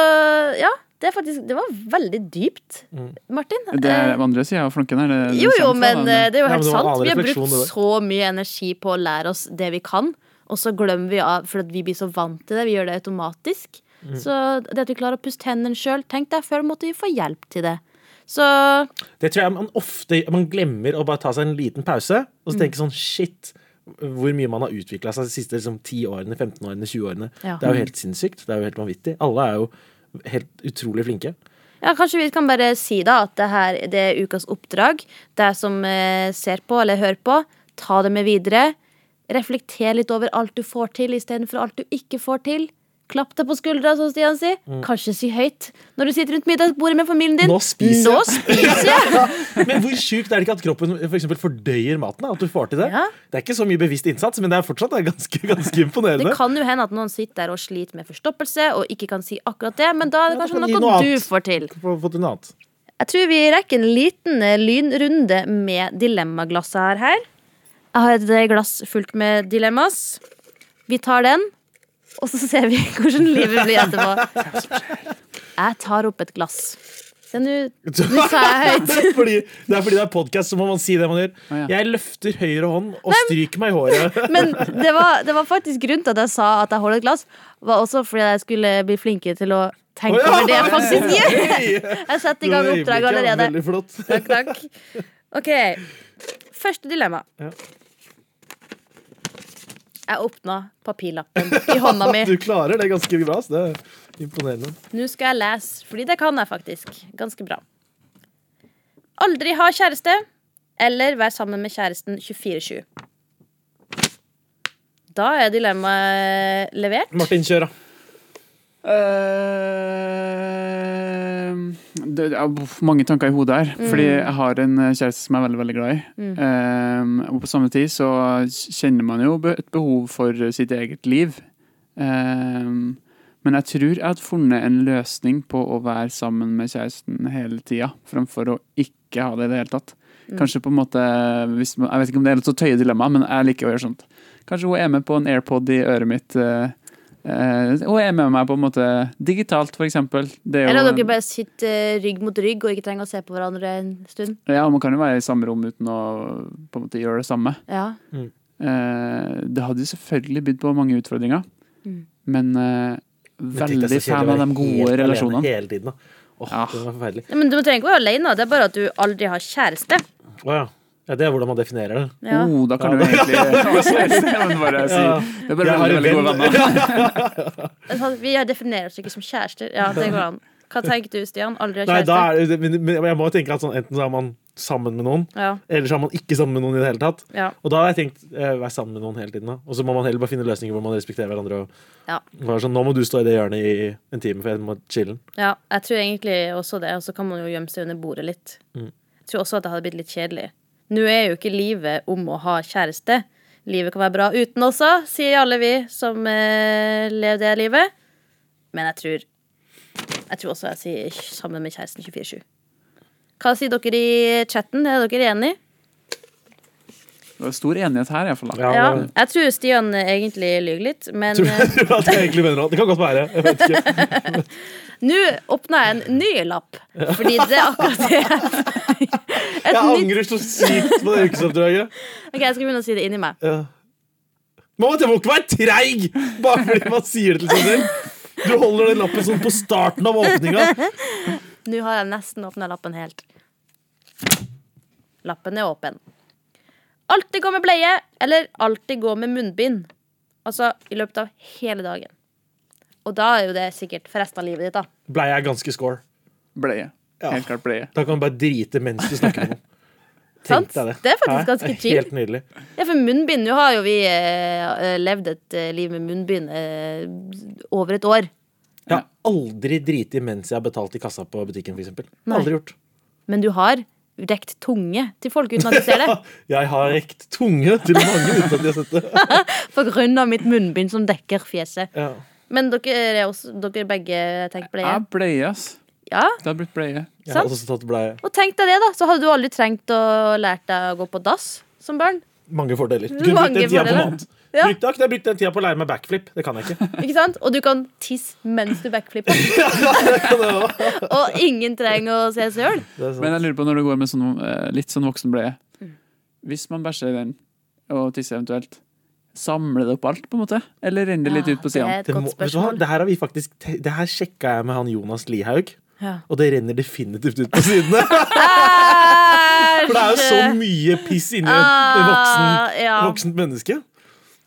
ja, det er faktisk Det var veldig dypt, Mm. Martin. Det er Eh, den andre sida av flanken her. Det, det jo, jo, kommer fra, men da, eh, det er jo helt Ja, men det var en sant. annen Vi har refleksjon, brukt det der. så mye energi på å lære oss det vi kan, og så glemmer vi av fordi vi blir så vant til det. Vi gjør det automatisk. Mm. Så det at vi klarer å puste hendene sjøl Tenk deg før måtte vi få hjelp til det. Så Det tror jeg man ofte man glemmer å bare ta seg en liten pause og Mm. så tenke sånn shit, hvor mye man har utvikla seg de siste liksom, 10 årene, 15 årene, 20 årene. Ja. Mm. Det er jo helt sinnssykt. Det er jo helt vanvittig. Alle er jo helt utrolig flinke. Ja, Kanskje vi kan bare si da at det her det er ukas oppdrag. Det som eh, ser på eller hører på, ta det med videre. Reflekter litt over alt du får til, istedenfor alt du ikke får til. Klapp deg på skuldra, som Stian sier. Kanskje si høyt når du sitter rundt middagsbordet med familien din. Mm. Nå spiser jeg. Nå spiser jeg! Men hvor sjukt er det ikke at kroppen for eksempel, fordøyer maten? da, At du får til det? Ja. Det er ikke så mye bevisst innsats, men det er fortsatt det er ganske, ganske Det imponerende. kan jo hende at noen sitter der og sliter med forstoppelse og ikke kan si akkurat det, men da er det Ja, da kanskje kan de gi noe noe du annet. får til. Få- få til noe annet. Jeg tror vi rekker en liten eh, lynrunde med dilemmaglasset her. her. Jeg har et eh, glass fullt med dilemmas. Vi tar den, og så ser vi hvordan livet blir etterpå. Jeg tar opp et glass. Se, nå nå sa jeg høyt. fordi, det er fordi det er podkast, så må man si det man gjør. Å, ja. Jeg løfter høyre hånd og stryker meg i håret. Men det var, det var faktisk grunnen til at jeg sa at jeg holder et glass, var også fordi jeg skulle bli flinkere til å tenke over det jeg faktisk gjør. Jeg setter i gang oppdraget allerede. Veldig flott. Takk, takk. Ok, første dilemma. Ja. Jeg åpna papirlappen i hånda mi. Du klarer det ganske bra. Så det er imponerende. Nå skal jeg lese, fordi det kan jeg faktisk. Ganske bra. Aldri ha kjæreste, eller være sammen med kjæresten 24-7. Da er dilemmaet levert. Martin, kjør, da. Eh, det er mange tanker i hodet her. Fordi jeg har en eh, kjæreste som jeg er veldig veldig glad i. Eh, og på samme tid så kjenner man jo be- et behov for sitt eget liv. Eh, men jeg tror jeg hadde funnet en løsning på å være sammen med kjæresten hele tida, framfor å ikke ha det i det hele tatt. Mm. Kanskje på en måte hvis man, Jeg vet ikke om det er et så tøye dilemma, men jeg liker å gjøre sånt. Kanskje hun er med på en AirPod i øret mitt eh, eh, og er med meg på en måte digitalt, for eksempel. Det er jo, Eller at dere bare sitter eh, rygg mot rygg og ikke trenger å se på hverandre en stund. Ja, man kan jo være i samme rom uten å på en måte gjøre det samme. Ja. Eh, det hadde jo selvfølgelig bydd på mange utfordringer, Mm. men eh, Men tenk deg veldig så kjedelig fan å av være de helt gode alene relasjonene. Hele tiden, da. Åh, Ja. det var forferdelig. Nei, Men Du trenger ikke å være alene, da. det er bare at du aldri har kjæreste. Å ja. ja. Det er hvordan man definerer det. Ja. Oh, da kan du egentlig Men bare si Ja. Det er bare veldig, veldig gode venner. Altså, Vi definerer oss ikke som kjærester. Ja, det går an. Hva tenker du, Stian? Aldri har Nei, da kjæreste? er det, men, men jeg må jo tenke at sånn, enten så er man sammen med noen, Ja, eller så er man ikke sammen med noen i det hele tatt. ja. Og da har jeg tenkt eh, vær sammen med noen hele tiden. da Og så må man heller bare finne løsninger hvor man respekterer hverandre. Og Ja. bare sånn, nå må du stå i det hjørnet i en time, for jeg må chille. Ja, jeg tror egentlig også det. Og så kan man jo gjemme seg under bordet litt. Mm. Jeg tror også at det hadde blitt litt kjedelig. Nå er jo ikke livet om å ha kjæreste. Livet kan være bra uten også, sier alle vi som eh, lever det livet. Men jeg tror Jeg tror også jeg sier sammen med kjæresten 24-7. Hva sier dere i chatten? Er dere enige? Det var stor enighet her, iallfall. Ja, Ja, men- jeg tror Stian egentlig lyver litt, men Tror eh, du at jeg egentlig mener noe? Det kan godt være. Jeg vet ikke. nå åpna jeg en ny lapp, fordi det er akkurat det. Et Jeg nytt angrer så sykt på det yrkesoppdraget. Ok, jeg skal begynne å si det inni meg. Ja. Mamma, jeg må ikke være treig bare fordi man sier det til seg selv. Du holder den lappen sånn på starten av åpninga. Nå har jeg nesten åpna lappen helt. Lappen er åpen. Alltid gå med bleie, eller alltid gå med munnbind. Altså i løpet av hele dagen. Og da er jo det sikkert for resten av livet ditt, da. Blei jeg ganske score. Bleie. Helt klart bleie. Da kan du bare drite mens du snakker med noen. Sant? Tenk deg det. Det er faktisk Hæ? ganske chill. Helt nydelig. Ja, for munnbind, nå har jo vi eh, levd et eh, liv med munnbind eh, over et år. Jeg har aldri driti mens jeg har betalt i kassa på butikken, f.eks. Nei. Aldri gjort. Men du har rekt tunge til folk uten at du ser det. Jeg har rekt tunge til mange uten at de har sett det. På grunn av mitt munnbind som dekker fjeset. Ja. Men dere, er også, dere begge tenker bleie? Ja, bleie, ass. Ja? Det har blitt bleie. Jeg Sant? har også tatt blei. Og tenk deg det, da. Så hadde du aldri trengt å lært deg å gå på dass som barn. Mange fordeler. Du Mange kunne brukt den tida på fordeler. noe annet. Ja. Brukt, da kunne jeg brukt den tida på å lære meg backflip. Det kan jeg ikke. Ikke sant? Og du kan tisse mens du backflipper. og ingen trenger å se søl. Det er sant. Men jeg lurer på når du går med sånn, eh, litt sånn voksen bleie Mm. Hvis man bæsjer i den, og tisser eventuelt, samler det opp alt, på en måte? Eller renner det litt ut på det er sidene? et det, må, godt vet du hva? spørsmål. det her har vi faktisk te- Det her sjekka jeg med han Jonas Lihaug, Ja. og det renner definitivt ut på sidene. Æsj! For det er jo så mye piss inni et Ah, voksen, ja. voksent menneske.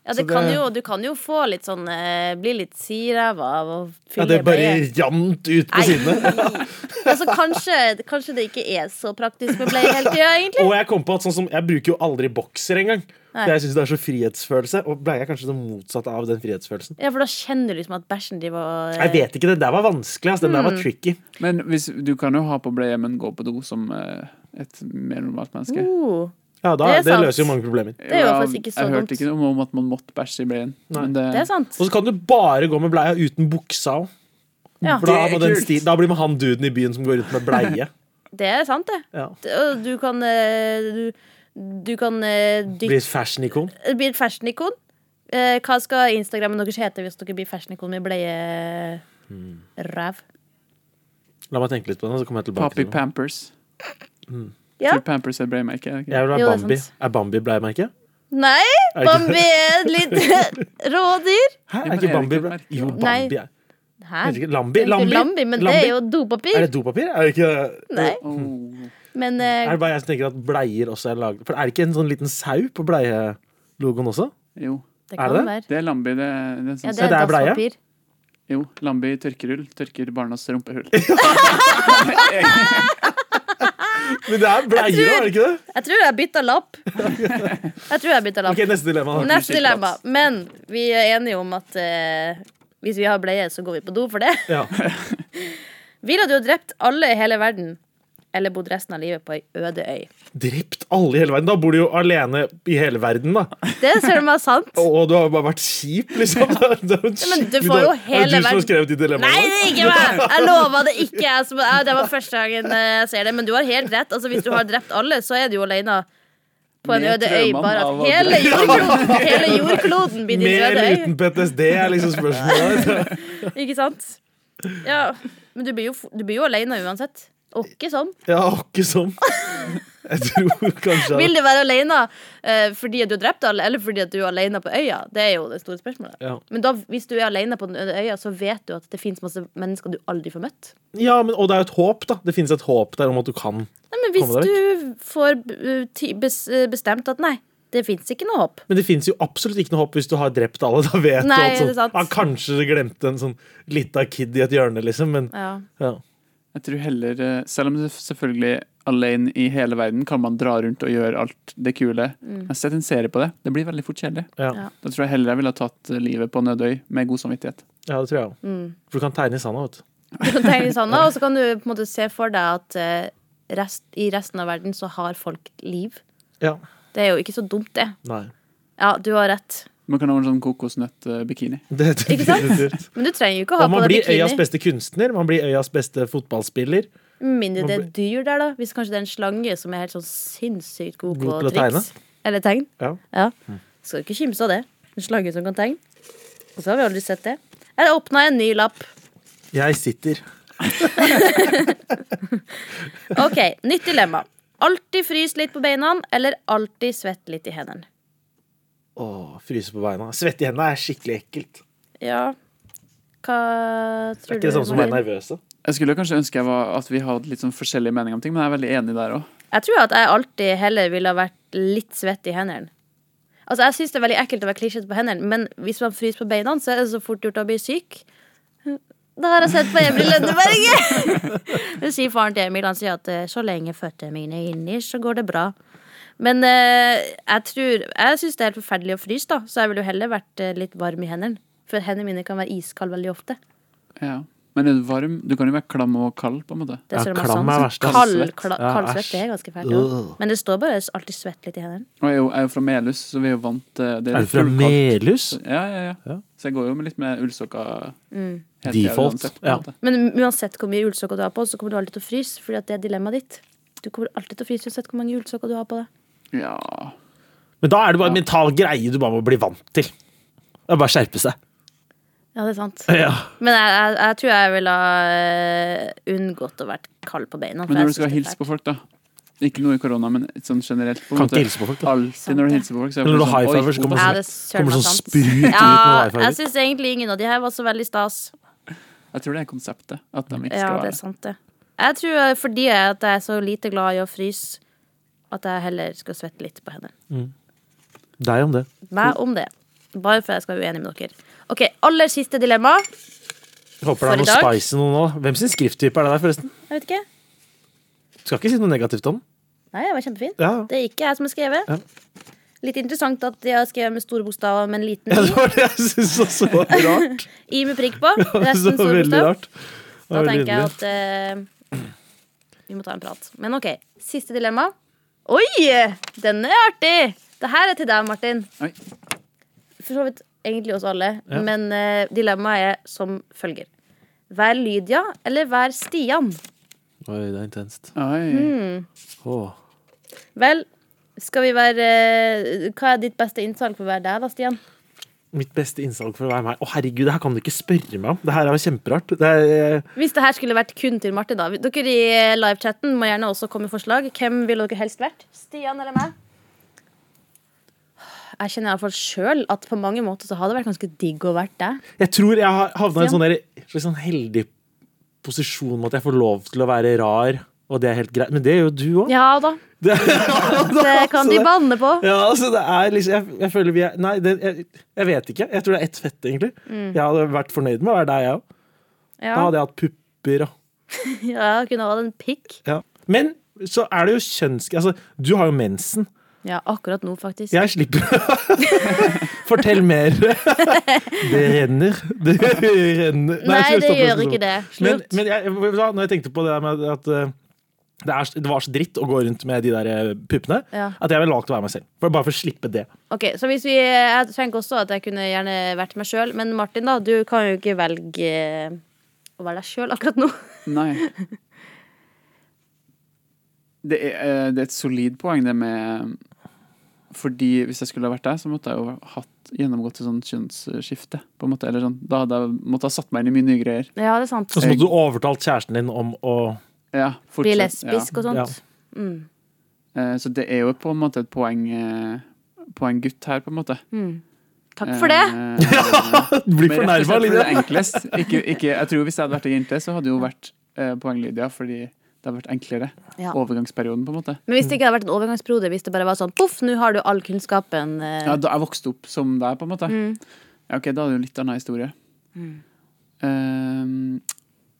Ja, så det kan det- jo, du kan jo få litt sånn eh, Bli litt siræva av å Ja, fylle det bare bleie. rant ut på sidene. Nei. altså, kanskje, kanskje det ikke er så praktisk med bleie hele tida, egentlig. Og jeg kom på at sånn som, jeg bruker jo aldri bokser engang. Nei. For Jeg syns det er så frihetsfølelse. Og blei jeg kanskje det motsatte av den frihetsfølelsen. Ja, for da kjenner du liksom at bæsjen driver og eh, Jeg vet ikke, det der var vanskelig. ass. Den der Mm. var tricky. Men hvis, du kan jo ha på bleie, men gå på do som eh, et mer normalt menneske. Oh, Ja, da, Det er det, sant. løser jo mange problemer. det er jo Ja, faktisk ikke så Jeg dumt. hørte ikke noe om at man måtte bæsje i bleien. Nei. Men det, det er sant. Og så kan du bare gå med bleia uten buksa òg. Ja, For da, Det er med den kult. sti- da blir man han duden i byen som går rundt med bleie. det er sant, det. Ja. Det- og Du kan eh, Du, du kan eh, Blir dytte et fashion-ikon. Bli et fashionikon. Eh, Hva skal Instagrammen deres hete hvis dere blir fashionikon med bleie... Hmm. Ræv. La meg tenke litt på den, så kommer jeg tilbake Poppy til den. Pampers. Ja. Tror Pampers er bleiemerke. er det ikke? Jeg vil være Jo, det er Bambi. sant. Er Bambi bleiemerke? Nei! Er ikke- Bambi er et lite rådyr. Hæ, Ja, er men ikke er det Bambi ikke et ble... merke? Jo, Nei. Bambi er Hæ? er det ikke- Det Lambi? er ikke Lambi? Lambi, men det Lambi? er jo Er dopapir. det dopapir? Er det ikke Nei. Oh. Hm. Men eh, Er det bare jeg som tenker at bleier også er laget For er det ikke en sånn liten sau på bleielogoen også? Jo, det er kan det? være. det er Lambi. Det, er- det er en Ja, sånn det er det er bleie? dasspapir. Jo, Lambi tørkerull tørker barnas rumpehull. Men det er bleier Jeg òg, tror- er det ikke det? Jeg tror jeg bytta lapp. Jeg tror jeg bytta lapp. Ok, Neste dilemma. da. Neste dilemma. Men vi er enige om at eh, hvis vi har bleie, så går vi på do for det. Ja. Ville du ha drept alle i hele verden, eller bodd resten av livet på ei øde øy? Drept alle i hele verden. Da bor du jo alene i hele verden, da. Det ser du meg sant. Og, og du har bare vært kjip, liksom. Det er- det er jo en men du skikkelig får jo dårlig- hele Det er du som har verden- skrevet de Nei, dilemmaene. det er ikke meg! Jeg lova det ikke. Jeg som, ja, det var første gangen eh, jeg ser det. Men du har helt rett. Altså, hvis du har drept alle, så er du jo aleine på en Med øde øy. Trauman Bare av at å- hele jordkloden, hele jordkloden blir din Med øde eller øy. uten PTSD er liksom spørsmålet. Ikke sant? Ja, Men du blir jo, f- du blir jo aleine uansett. Og ikke sånn. Ja, ikke sånn. Jeg tror kanskje at- Vil du være aleine fordi at du har drept alle, eller fordi at du er aleine på øya? Det er jo det store spørsmålet. ja. Men da, hvis du er aleine på den øde øya, så vet du at det fins masse mennesker du aldri får møtt. ja, men, og det er jo et håp, da. Det finnes et håp der om at du kan. Nei, men hvis Kommer deg du får eh, ti- bes- eh, bestemt at nei, det fins ikke noe håp. Men det fins jo absolutt ikke noe håp hvis du har drept alle. Da vet Nei, det du er alt sånn. sant. Ja, kanskje du glemte en sånn lita kid i et hjørne, liksom. Men Ja. ja. Jeg tror heller, eh, selv om det selvfølgelig alene i hele verden kan man dra rundt og gjøre alt det kule. Mm. Jeg har sett en serie på det. Det blir veldig fort kjedelig. Ja. Ja. Da tror jeg heller jeg ville ha tatt eh, livet på Nødøy med god samvittighet. ja, det tror jeg òg. Mm. For du kan tegne i sanda, vet du. Du kan tenke sånn, og så kan du på en måte se for deg at eh, rest, i resten av verden så har folk liv. Ja. Det er jo ikke så dumt, det. Nei. Ja, du har rett. Man kan ha en sånn kokosnøtt-bikini. Det er Ikke sant? definitivt. Men du trenger jo ikke å ha på Og man deg blir øyas bikini. beste kunstner, man blir øyas beste fotballspiller. Med mindre det er dyr der, da. Hvis kanskje det er en slange som er helt sånn sinnssykt god på God til å Mm. triks. Eller tegn. Ja. Ja. Skal ikke kimse av det. En slange som kan tegne. Og så har vi aldri sett det. Jeg åpna en ny lapp. Jeg sitter. OK, nytt dilemma. Alltid frys litt på beina eller alltid svett litt i hendene? Åh, fryser på beina. Svette i hendene er skikkelig ekkelt. Ja Hva Det tror er ikke det du? samme som å Maren? være nervøse. Jeg skulle kanskje ønske jeg var, at vi hadde litt sånn forskjellige meninger om ting, men jeg er veldig enig der òg. Jeg tror at jeg alltid heller ville ha vært litt svett i hendene. Altså, Jeg syns det er veldig ekkelt å være klissete på hendene, men hvis man fryser på beina, så er det så fort gjort å bli syk. Det har jeg sett på Emil Lønneberget! Det sier faren til Emil. Han sier at eh, så lenge føttene mine er inni, så går det bra. Men eh, jeg tror Jeg syns det er helt forferdelig å fryse, da, så jeg ville jo heller vært eh, litt varm i hendene. For hendene mine kan være iskalde veldig ofte. Ja. Men er du varm? Du kan jo være klam og kald, på en måte. Det Ja, ser man klam sånn. er verst, ass. Kald, Svett. kla, Ja, kald æsj. svett det er ganske fælt. ja. Øh. Men det står bare alltid svett litt i hendene. Og jeg er jo, jeg er jo fra Melhus, så vi er jo vant til det. Er du fra fullkaldt. Melhus? Ja, ja, ja, Ja. Så jeg går jo med litt med ullsokker. Mm. helt til Default, uansett, på en ja. måte. Men uansett hvor mye ullsokker du har på, så kommer du alltid til å fryse. Fordi at det er dilemmaet ditt. Du kommer alltid til å fryse uansett hvor mange ullsokker du har på deg. ja. Men da er det bare en mental greie du bare må bli vant til. Det er bare å skjerpe seg. Ja, det er sant. Ja. Men jeg, jeg, jeg tror jeg ville ha eh, unngått å være kald på beina. for Men jeg når du skal synes det er hilse på folk, da. Ikke noe i korona, men sånn generelt. På en Kan måte. ikke hilse på folk. Da. Sånn, Alltid når du hilser på folk, så er Eller det når du sånn, high-fiver, oi, så kommer fælt. Ja, det Oda. er søren meg Kommer sånn sant. sprut ut Ja, med jeg wifi. syns egentlig ingen av de her var så veldig stas. Jeg tror det er konseptet. At de ikke Ja, det er skal sånn. være sant, det. Jeg tror eh, fordi jeg, at jeg er så lite glad i å fryse, at jeg heller skal svette litt på hendene. Deg om det. Meg om det. Bare for jeg skal være uenig med dere. OK, aller siste dilemma. For Håper det er i noe dag. spice i noe nå. Hvem sin skrifttype er det der, forresten? Jeg vet ikke. Du skal ikke si noe negativt om den. Nei, jeg var kjempefin. Ja. Det er ikke jeg som har skrevet. Ja. Litt interessant at de har skrevet med store bokstaver, men liten Ja, i. det var det jeg syntes var så rart. I med prikk på. Det Resten var store veldig bokstav. rart. Det Da var veldig tenker jeg underlig. at eh, vi må ta en prat. Men OK. Siste dilemma. Oi! Den er artig! Det her er til deg, Martin. Oi. For så vidt egentlig oss alle, Ja. men eh, dilemmaet er som følger. Vær Lydia eller vær Stian? Oi, det er intenst. Mm. Oi. Åh. Vel, skal vi være eh, Hva er ditt beste innsalg for å være deg, da, Stian? Mitt beste innsalg for å være meg. Å, herregud, det her kan du ikke spørre meg om. Det her er jo kjemperart. Det er, eh, Hvis det her skulle vært kun til Martin, da. Dere i livechatten må gjerne også komme med forslag. Hvem ville dere helst vært? Stian eller meg? Jeg kjenner iallfall sjøl at på mange måter så har det vært ganske digg å vært deg. jeg tror jeg har havna i Stian? en sånn, der, slags sånn heldig posisjon med at jeg får lov til å være rar, og det er helt greit. Men det gjør jo du òg. Ja da. Det kan de banne på. Ja, altså det er liksom Jeg, jeg føler vi er Nei, det, jeg, jeg vet ikke. Jeg tror det er ett fett, egentlig. Jeg hadde vært fornøyd med å være deg, jeg òg. Mm. Ja, Da hadde jeg hatt pupper og ja kunne hatt en pikk. ja. Men så er det jo kjønns... Altså, du har jo mensen. Ja, akkurat nå, faktisk. Jeg slipper Fortell mer. Det renner. Det renner. Nei, stopp, det stopp, gjør stopp. ikke det. sånn. Men, Slutt. men jeg, da, når jeg tenkte på det der med at eh, det, er, det var så dritt å gå rundt med de der eh, puppene, Ja. at jeg ville valgt å være meg selv. For, bare for å slippe det. Ok, så hvis vi, Jeg tenker også at jeg kunne gjerne vært meg sjøl, men Martin, da, du kan jo ikke velge å være deg sjøl akkurat nå. Nei. Det er, eh, det er et solid poeng, det med Fordi hvis jeg skulle ha vært deg, så måtte jeg jo hatt gjennomgått et sånt kjønnsskifte. På en måte, eller sånn. Da hadde jeg måttet ha satt meg inn i mye nye greier. Ja, det er sant. Og så måtte du overtalt kjæresten din om å Ja, Bli fortsatt, lesbisk og sånt. Mm. Ja. Eh, Så det er jo på en måte et poeng eh, Poenggutt her, på en måte. Eh. Takk for det. bli Men rett og slett fornærma, fordi det er Lydia. enklest. Ikke, ikke, jeg tror Hvis jeg hadde vært ei jente, så hadde det jo vært eh, poeng Lydia, fordi det hadde vært enklere. Ja. Overgangsperioden, på en måte. Men hvis det ikke hadde vært en overgangsperiode, hvis det bare var sånn poff, nå har du all kunnskapen eh, Ja, da jeg vokste opp som deg, på en måte. Mm. Ja, ok, Da er det jo en litt annen historie. Eh,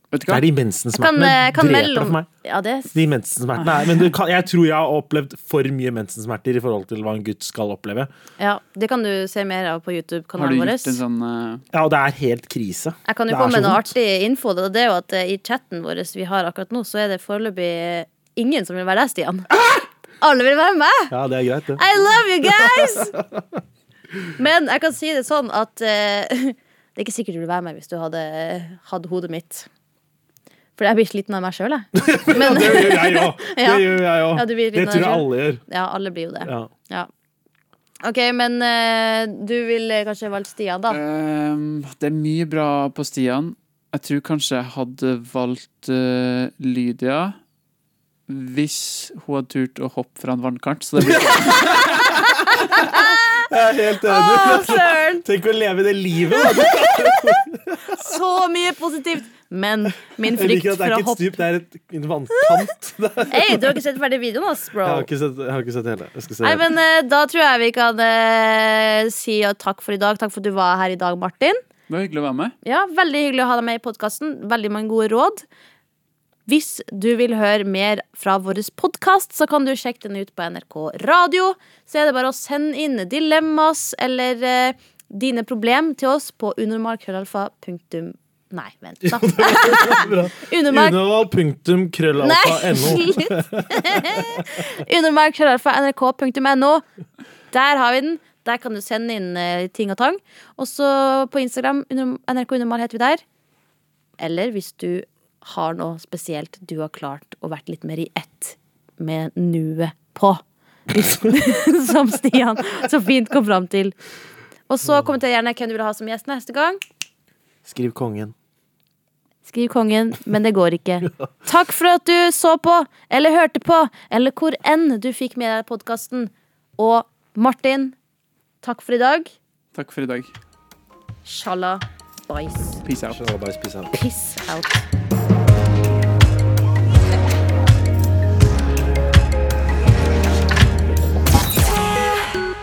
vet du Det hva? er de kan, mensensmertene. eh, kan Dreper mellom for meg. Ja, det er De mensensmertene er, men du kan, Jeg tror jeg har opplevd for mye mensensmerter i forhold til hva en gutt skal oppleve. Ja, det kan du se mer av på Har du YouTube-kanalen vår. gjort en sånn eh, Ja, og det er helt krise. Jeg kan jo Det komme er så med noe vondt. artig info. og Det er jo at eh, I chatten vår vi har akkurat nå, så er det foreløpig eh, ingen som vil være deg, Stian. Alle vil være meg! Ja, det er greit, det. I love you guys! Men jeg kan si det sånn at eh, det er ikke sikkert du vil være meg hvis du hadde eh, hatt hodet mitt. For jeg blir sliten av meg sjøl, jeg. Men Det gjør jeg òg. Det Ja. gjør jeg Ja, også. du blir litt Det tror jeg nærmere. alle gjør. ja, alle blir jo det. Ja. Ja. OK, men eh, du vil eh, kanskje valgt Stian, da? Ehm, det er mye bra på Stian. Jeg tror kanskje jeg hadde valgt eh, Lydia hvis hun hadde turt å hoppe fra en vannkant. Så det blir Jeg er helt Å, enig. søren! Tenk å leve det livet. da. Så mye positivt! Men min Jeg frykt liker at for det er å ikke et hoppe stup, det er et, en vannkant. Det er- Hei, du har ikke sett ferdig videoen, ass, bro. Jeg har ikke sett, jeg har ikke sett hele. Jeg skal se Nei, hele. men eh, Da tror jeg vi kan eh, si ja, takk for i dag. Takk for at du var her i dag, Martin. det var hyggelig å være med. Ja, Veldig hyggelig å ha deg med i podkasten. Veldig mange gode råd. Hvis du vil høre mer fra vår podkast, så kan du sjekke den ut på NRK Radio. Så er det bare å sende inn dilemmas eller eh, dine problem til oss på unormalkrøllalfa. punktum- Nei, vent, da. Unormal Uneval punktum krøllalfa no. Undermark krøllalfa nrk.no. Der har vi den. Der kan du sende inn eh, ting og tang. Og så på Instagram, under, NRK Undermal heter vi der. Eller hvis du har noe spesielt du har klart å vært litt mer i ett med nuet på. Hvis- som Stian så fint kom fram til. Og så kommenter gjerne hvem du vil ha som gjest neste gang. Skriv kongen. Skriv kongen, men det går ikke. Takk for at du så på, eller hørte på, eller hvor enn du fikk med deg podkasten. Og Martin, takk for i dag. Takk for i dag. Shala bais. Peace out. Skjønner, bare spis her. Piss out.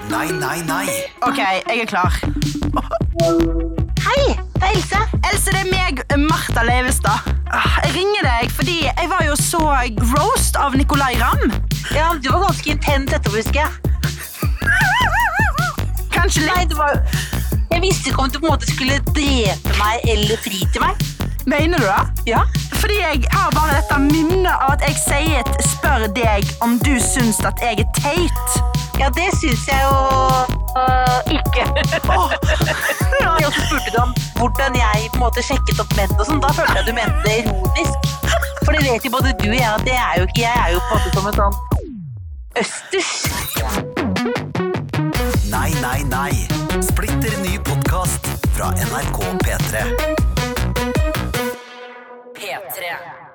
Nei, nei, nei. Ok, jeg er klar. Hei, det er Else. Else, det er meg, Martha Leivestad. Ah, Jeg ringer deg fordi jeg var jo så roast av Nicolai Ramm. Ja, du var ganske intent etterpå, husker jeg. Kanskje litt. Nei, det var... Jeg visste ikke om du på en måte skulle drepe meg eller fri til meg. Mener du det? Ja. Fordi jeg har bare dette minnet av at jeg sier et spør deg om du syns at jeg er teit. Ja, det syns jeg jo øh, ikke. Og så spurte du om hvordan jeg på en måte sjekket opp menn og sånn. Da følte jeg du mente det ironisk. For det vet jo både du og jeg at det er jo ikke Jeg er jo på en måte som en sånn østers. Nei, nei, nei. Splitter ny podkast fra NRK P3. P3.